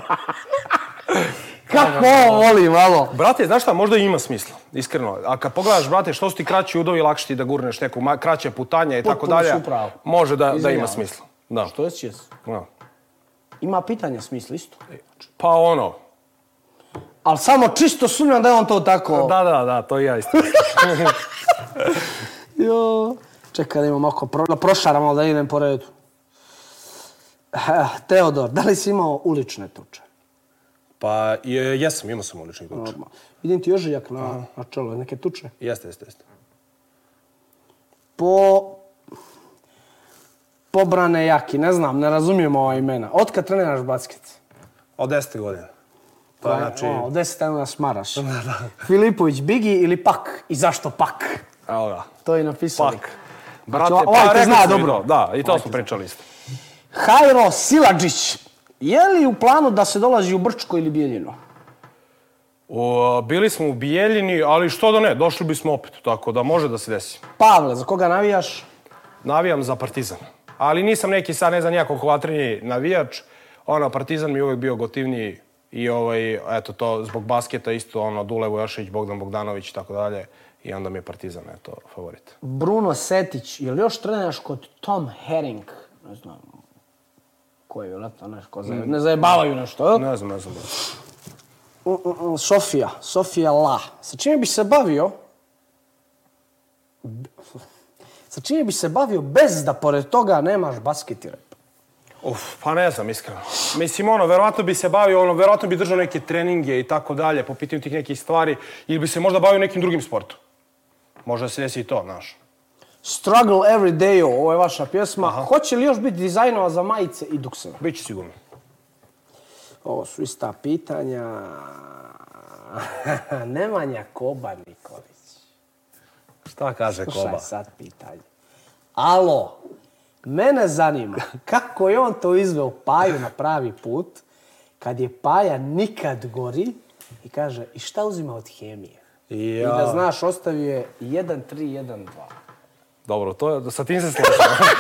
Speaker 1: Kako ovo voli malo?
Speaker 2: Brate, znaš šta, možda i ima smisla, iskreno. A kad pogledaš, brate, što su ti kraći udovi, lakše ti da gurneš neku ma, kraće putanje i tako
Speaker 1: Potpuno
Speaker 2: dalje.
Speaker 1: si u pravu.
Speaker 2: Može da, da ima
Speaker 1: Izvinjavam.
Speaker 2: smisla. Da.
Speaker 1: Što je čest?
Speaker 2: da.
Speaker 1: Ima pitanja smisla isto.
Speaker 2: Pa ono.
Speaker 1: Ali samo čisto sumnjam da je on to tako.
Speaker 2: Da, da, da, to i ja isto.
Speaker 1: Jo. Čekaj da imam oko pro, da prošaramo da idem po redu. Eh, Teodor, da li si imao ulične tuče?
Speaker 2: pa, je, jesam, imao sam ulični tuč.
Speaker 1: Normal. Vidim ti ožiljak na, na čelo, neke tuče.
Speaker 2: Jeste, jeste, jeste.
Speaker 1: Po... Pobrane jaki, ne znam, ne razumijem ova imena. Otkad treniraš basket?
Speaker 2: Od 10 godina. Pa, znači...
Speaker 1: O, deset dana smaraš. Filipović, Bigi ili Pak? I zašto Pak?
Speaker 2: Evo ga.
Speaker 1: To je napisao.
Speaker 2: Pak. Brate, pa
Speaker 1: Znači, ovaj te
Speaker 2: rekli
Speaker 1: zna
Speaker 2: smo i
Speaker 1: dobro.
Speaker 2: to, Da, i to smo pričali isto.
Speaker 1: Hajro Siladžić, je li u planu da se dolazi u Brčko ili Bijeljino?
Speaker 2: U, O, bili smo u Bijeljini, ali što da ne, došli bismo opet, tako da može da se desi.
Speaker 1: Pavle, za koga navijaš?
Speaker 2: Navijam za Partizan. Ali nisam neki sad, ne znam, jako kvatreni navijač. Ono, Partizan mi je uvek bio gotivniji i ovaj, eto to, zbog basketa isto, ono, Dule Vojašić, Bogdan Bogdanović i tako dalje. I onda mi je Partizan, eto, favorit.
Speaker 1: Bruno Setić, je li još treniraš kod Tom Herring? Ne znam, koji je vjerojatno naš ko zaje... Ne zajebavaju nešto, jel?
Speaker 2: Ne znam, ne znam.
Speaker 1: Mm, mm, mm, Sofija, Sofija La. Sa čime bi se bavio? B- Sa čime bi se bavio bez da pored toga nemaš basket i rap?
Speaker 2: Uf, pa ne znam, iskreno. Mislim, ono, verovatno bi se bavio, ono, verovatno bi držao neke treninge i tako dalje, po pitanju tih nekih stvari, ili bi se možda bavio nekim drugim sportom. Možda se desi i to, znaš.
Speaker 1: Struggle Every Day, ovo je vaša pjesma. Hoće li još biti dizajnova za majice i dukseve?
Speaker 2: Biće sigurno.
Speaker 1: Ovo su ista pitanja. Nemanja Koba Nikolić.
Speaker 2: Šta kaže
Speaker 1: Slušaj sad pitanje. Alo, mene zanima kako je on to izveo Paju na pravi put, kad je Paja nikad gori i kaže, i šta uzima od hemije? I da znaš, ostavio je 1-3-1-2.
Speaker 2: Dobro, to je, sa tim se slažem.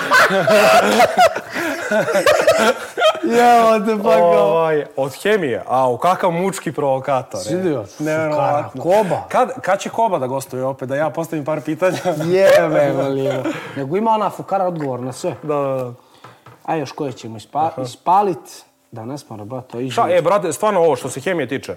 Speaker 1: Jeo te pa
Speaker 2: ovaj, od hemije, a u kakav mučki provokator. e.
Speaker 1: Vidio?
Speaker 2: Nevjerovatno.
Speaker 1: Koba.
Speaker 2: Kad, kad će Koba da gostuje opet, da ja postavim par pitanja?
Speaker 1: Jebe, valivo. Nego ima ona fukara odgovor na sve.
Speaker 2: da, da, da.
Speaker 1: A još koje ćemo ispa ispalit. Danas moramo, brate, ići.
Speaker 2: Šta, e, brate, stvarno ovo što se hemije tiče,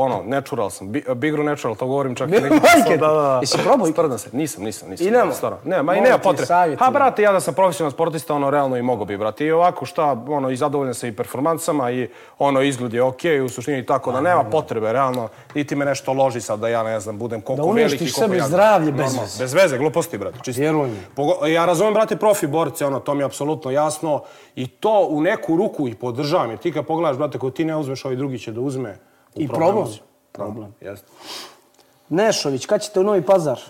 Speaker 2: ono, natural sam, bi, big natural, to govorim čak i neki
Speaker 1: majke ti.
Speaker 2: da, da, da.
Speaker 1: Jesi probao ikad?
Speaker 2: Sprdam se, nisam, nisam, nisam.
Speaker 1: I nemoj.
Speaker 2: Stvarno. Ne, ma i
Speaker 1: Molim
Speaker 2: nema
Speaker 1: ti,
Speaker 2: potrebe.
Speaker 1: savjetuj
Speaker 2: Ha,
Speaker 1: me.
Speaker 2: brate, ja da sam profesionalni sportista, ono, realno i mogo bi, brate. I ovako, šta, ono, i zadovoljan sam i performansama i, ono, izgled je okej, i u suštini tako da nema potrebe, realno. Niti me nešto loži sad da ja, ne znam, budem koliko
Speaker 1: Da
Speaker 2: veliki,
Speaker 1: uništiš
Speaker 2: koliko jak.
Speaker 1: sebi zdravlje bez
Speaker 2: Normalno,
Speaker 1: veze.
Speaker 2: Bez veze, gluposti, brate, čisto.
Speaker 1: Vjeruj mi.
Speaker 2: Pogo- Ja razumem, brate, profi borce, ono, to mi je apsolutno jasno. I to u neku ruku i podržavam, jer ti kad pogledaš, brate, ko ti ne uzmeš, ovaj drugi će da uzme. U
Speaker 1: I
Speaker 2: problemu
Speaker 1: problem.
Speaker 2: si. Problem. Jeste.
Speaker 1: Nešović, kad ćete u Novi Pazar?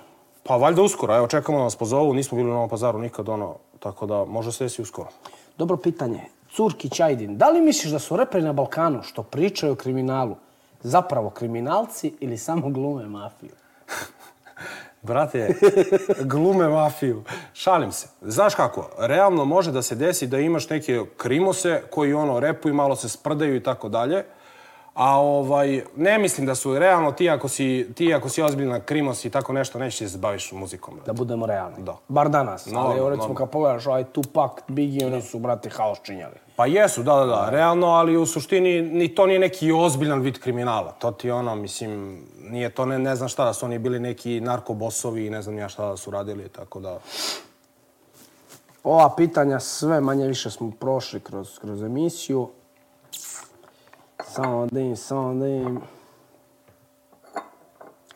Speaker 2: Pa valjda uskoro, evo čekamo da nas pozovu, nismo bili u Novom pazaru nikad, ono, tako da može se desi uskoro.
Speaker 1: Dobro pitanje. Curkić Ajdin, da li misliš da su reperi na Balkanu što pričaju o kriminalu zapravo kriminalci ili samo glume mafiju?
Speaker 2: Brate, glume mafiju. Šalim se. Znaš kako, realno može da se desi da imaš neke krimose koji ono repuju, malo se sprdaju i tako dalje. A ovaj, ne mislim da su realno ti ako si, ti ako si ozbiljna krimos i tako nešto, nećeš da se baviš muzikom. Brate.
Speaker 1: Da budemo realni.
Speaker 2: Da.
Speaker 1: Bar danas.
Speaker 2: Normalno,
Speaker 1: ali evo recimo
Speaker 2: normalno.
Speaker 1: kad pogledaš ovaj Tupac, Biggie, oni su, brate, haos činjali.
Speaker 2: Pa jesu, da, da, da, realno, ali u suštini ni to nije neki ozbiljan vid kriminala. To ti je ono, mislim, nije to, ne, ne znam šta, da su oni bili neki narkobosovi i ne znam ja šta da su radili, tako da...
Speaker 1: Ova pitanja sve manje više smo prošli kroz, kroz emisiju. Samo da im, samo da im.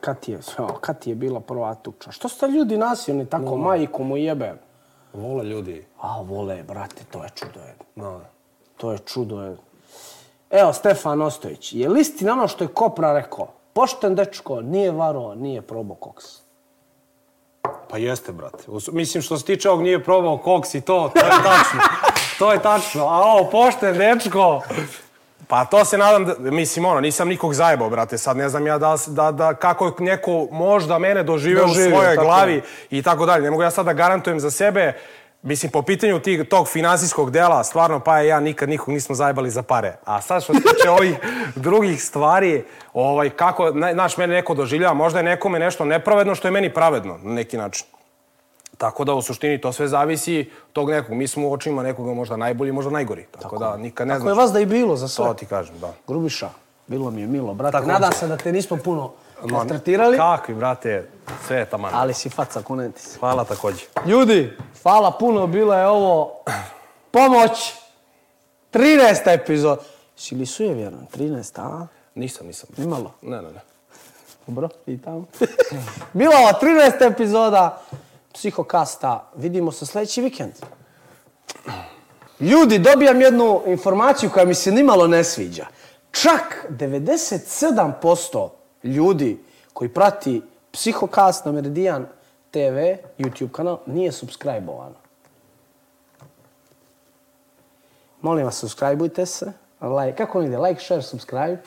Speaker 1: Kad ti je, o, kad ti je bila prva tuča? Što ste ljudi nasilni tako, majku mu jebe?
Speaker 2: Vole ljudi.
Speaker 1: A, vole, brate, to je čudo jedno.
Speaker 2: No, da.
Speaker 1: To je čudo jedno. Evo, Stefan Ostojić, je li istina ono što je Kopra rekao? Pošten dečko, nije varo, nije probao koks.
Speaker 2: Pa jeste, brate. U su- Mislim, što se tiče ovog nije probao koks i to, to je tačno. to je tačno. A ovo, pošten dečko. Pa to se nadam, da, mislim, ono, nisam nikog zajebao, brate. Sad ne znam ja da, da, da kako je neko možda mene doživio,
Speaker 1: Doživio,
Speaker 2: u svojoj
Speaker 1: tako
Speaker 2: glavi i tako dalje. Ne mogu ja sad da garantujem za sebe. Mislim, po pitanju tih, tog finansijskog dela, stvarno, pa ja nikad nikog nismo zajebali za pare. A sad što se tiče ovih drugih stvari, ovaj, kako, na- znaš, mene neko doživljava, možda je nekome nešto nepravedno što je meni pravedno, na neki način. Tako da u suštini to sve zavisi tog nekog. Mi smo u očima nekoga možda najbolji, možda najgori. Tako, da nikad ne
Speaker 1: Tako je
Speaker 2: znaš.
Speaker 1: vas da i bilo za sve.
Speaker 2: To ti kažem, da.
Speaker 1: Grubiša, bilo mi je milo, brate.
Speaker 2: Tako
Speaker 1: Nadam
Speaker 2: je.
Speaker 1: se da te nismo puno maltretirali,
Speaker 2: Kakvi, brate, sve je taman.
Speaker 1: ali si faca, kunem ti se.
Speaker 2: Hvala također.
Speaker 1: Ljudi, hvala puno, bila je ovo pomoć 13. epizod. Si li suje vjerujem, 13. a?
Speaker 2: Nisam, nisam.
Speaker 1: Nimalo.
Speaker 2: Ne, ne, ne.
Speaker 1: Dobro, i tamo. bila ova 13. epizoda Psihokasta. Vidimo se sljedeći vikend. Ljudi, dobijam jednu informaciju koja mi se nimalo ne sviđa. Čak 97% ljudi koji prati Psihokast na Meridian TV, YouTube kanal, nije subscribe-ovano. Molim vas, subscribeujte se. Like, kako on ide? Like, share, subscribe.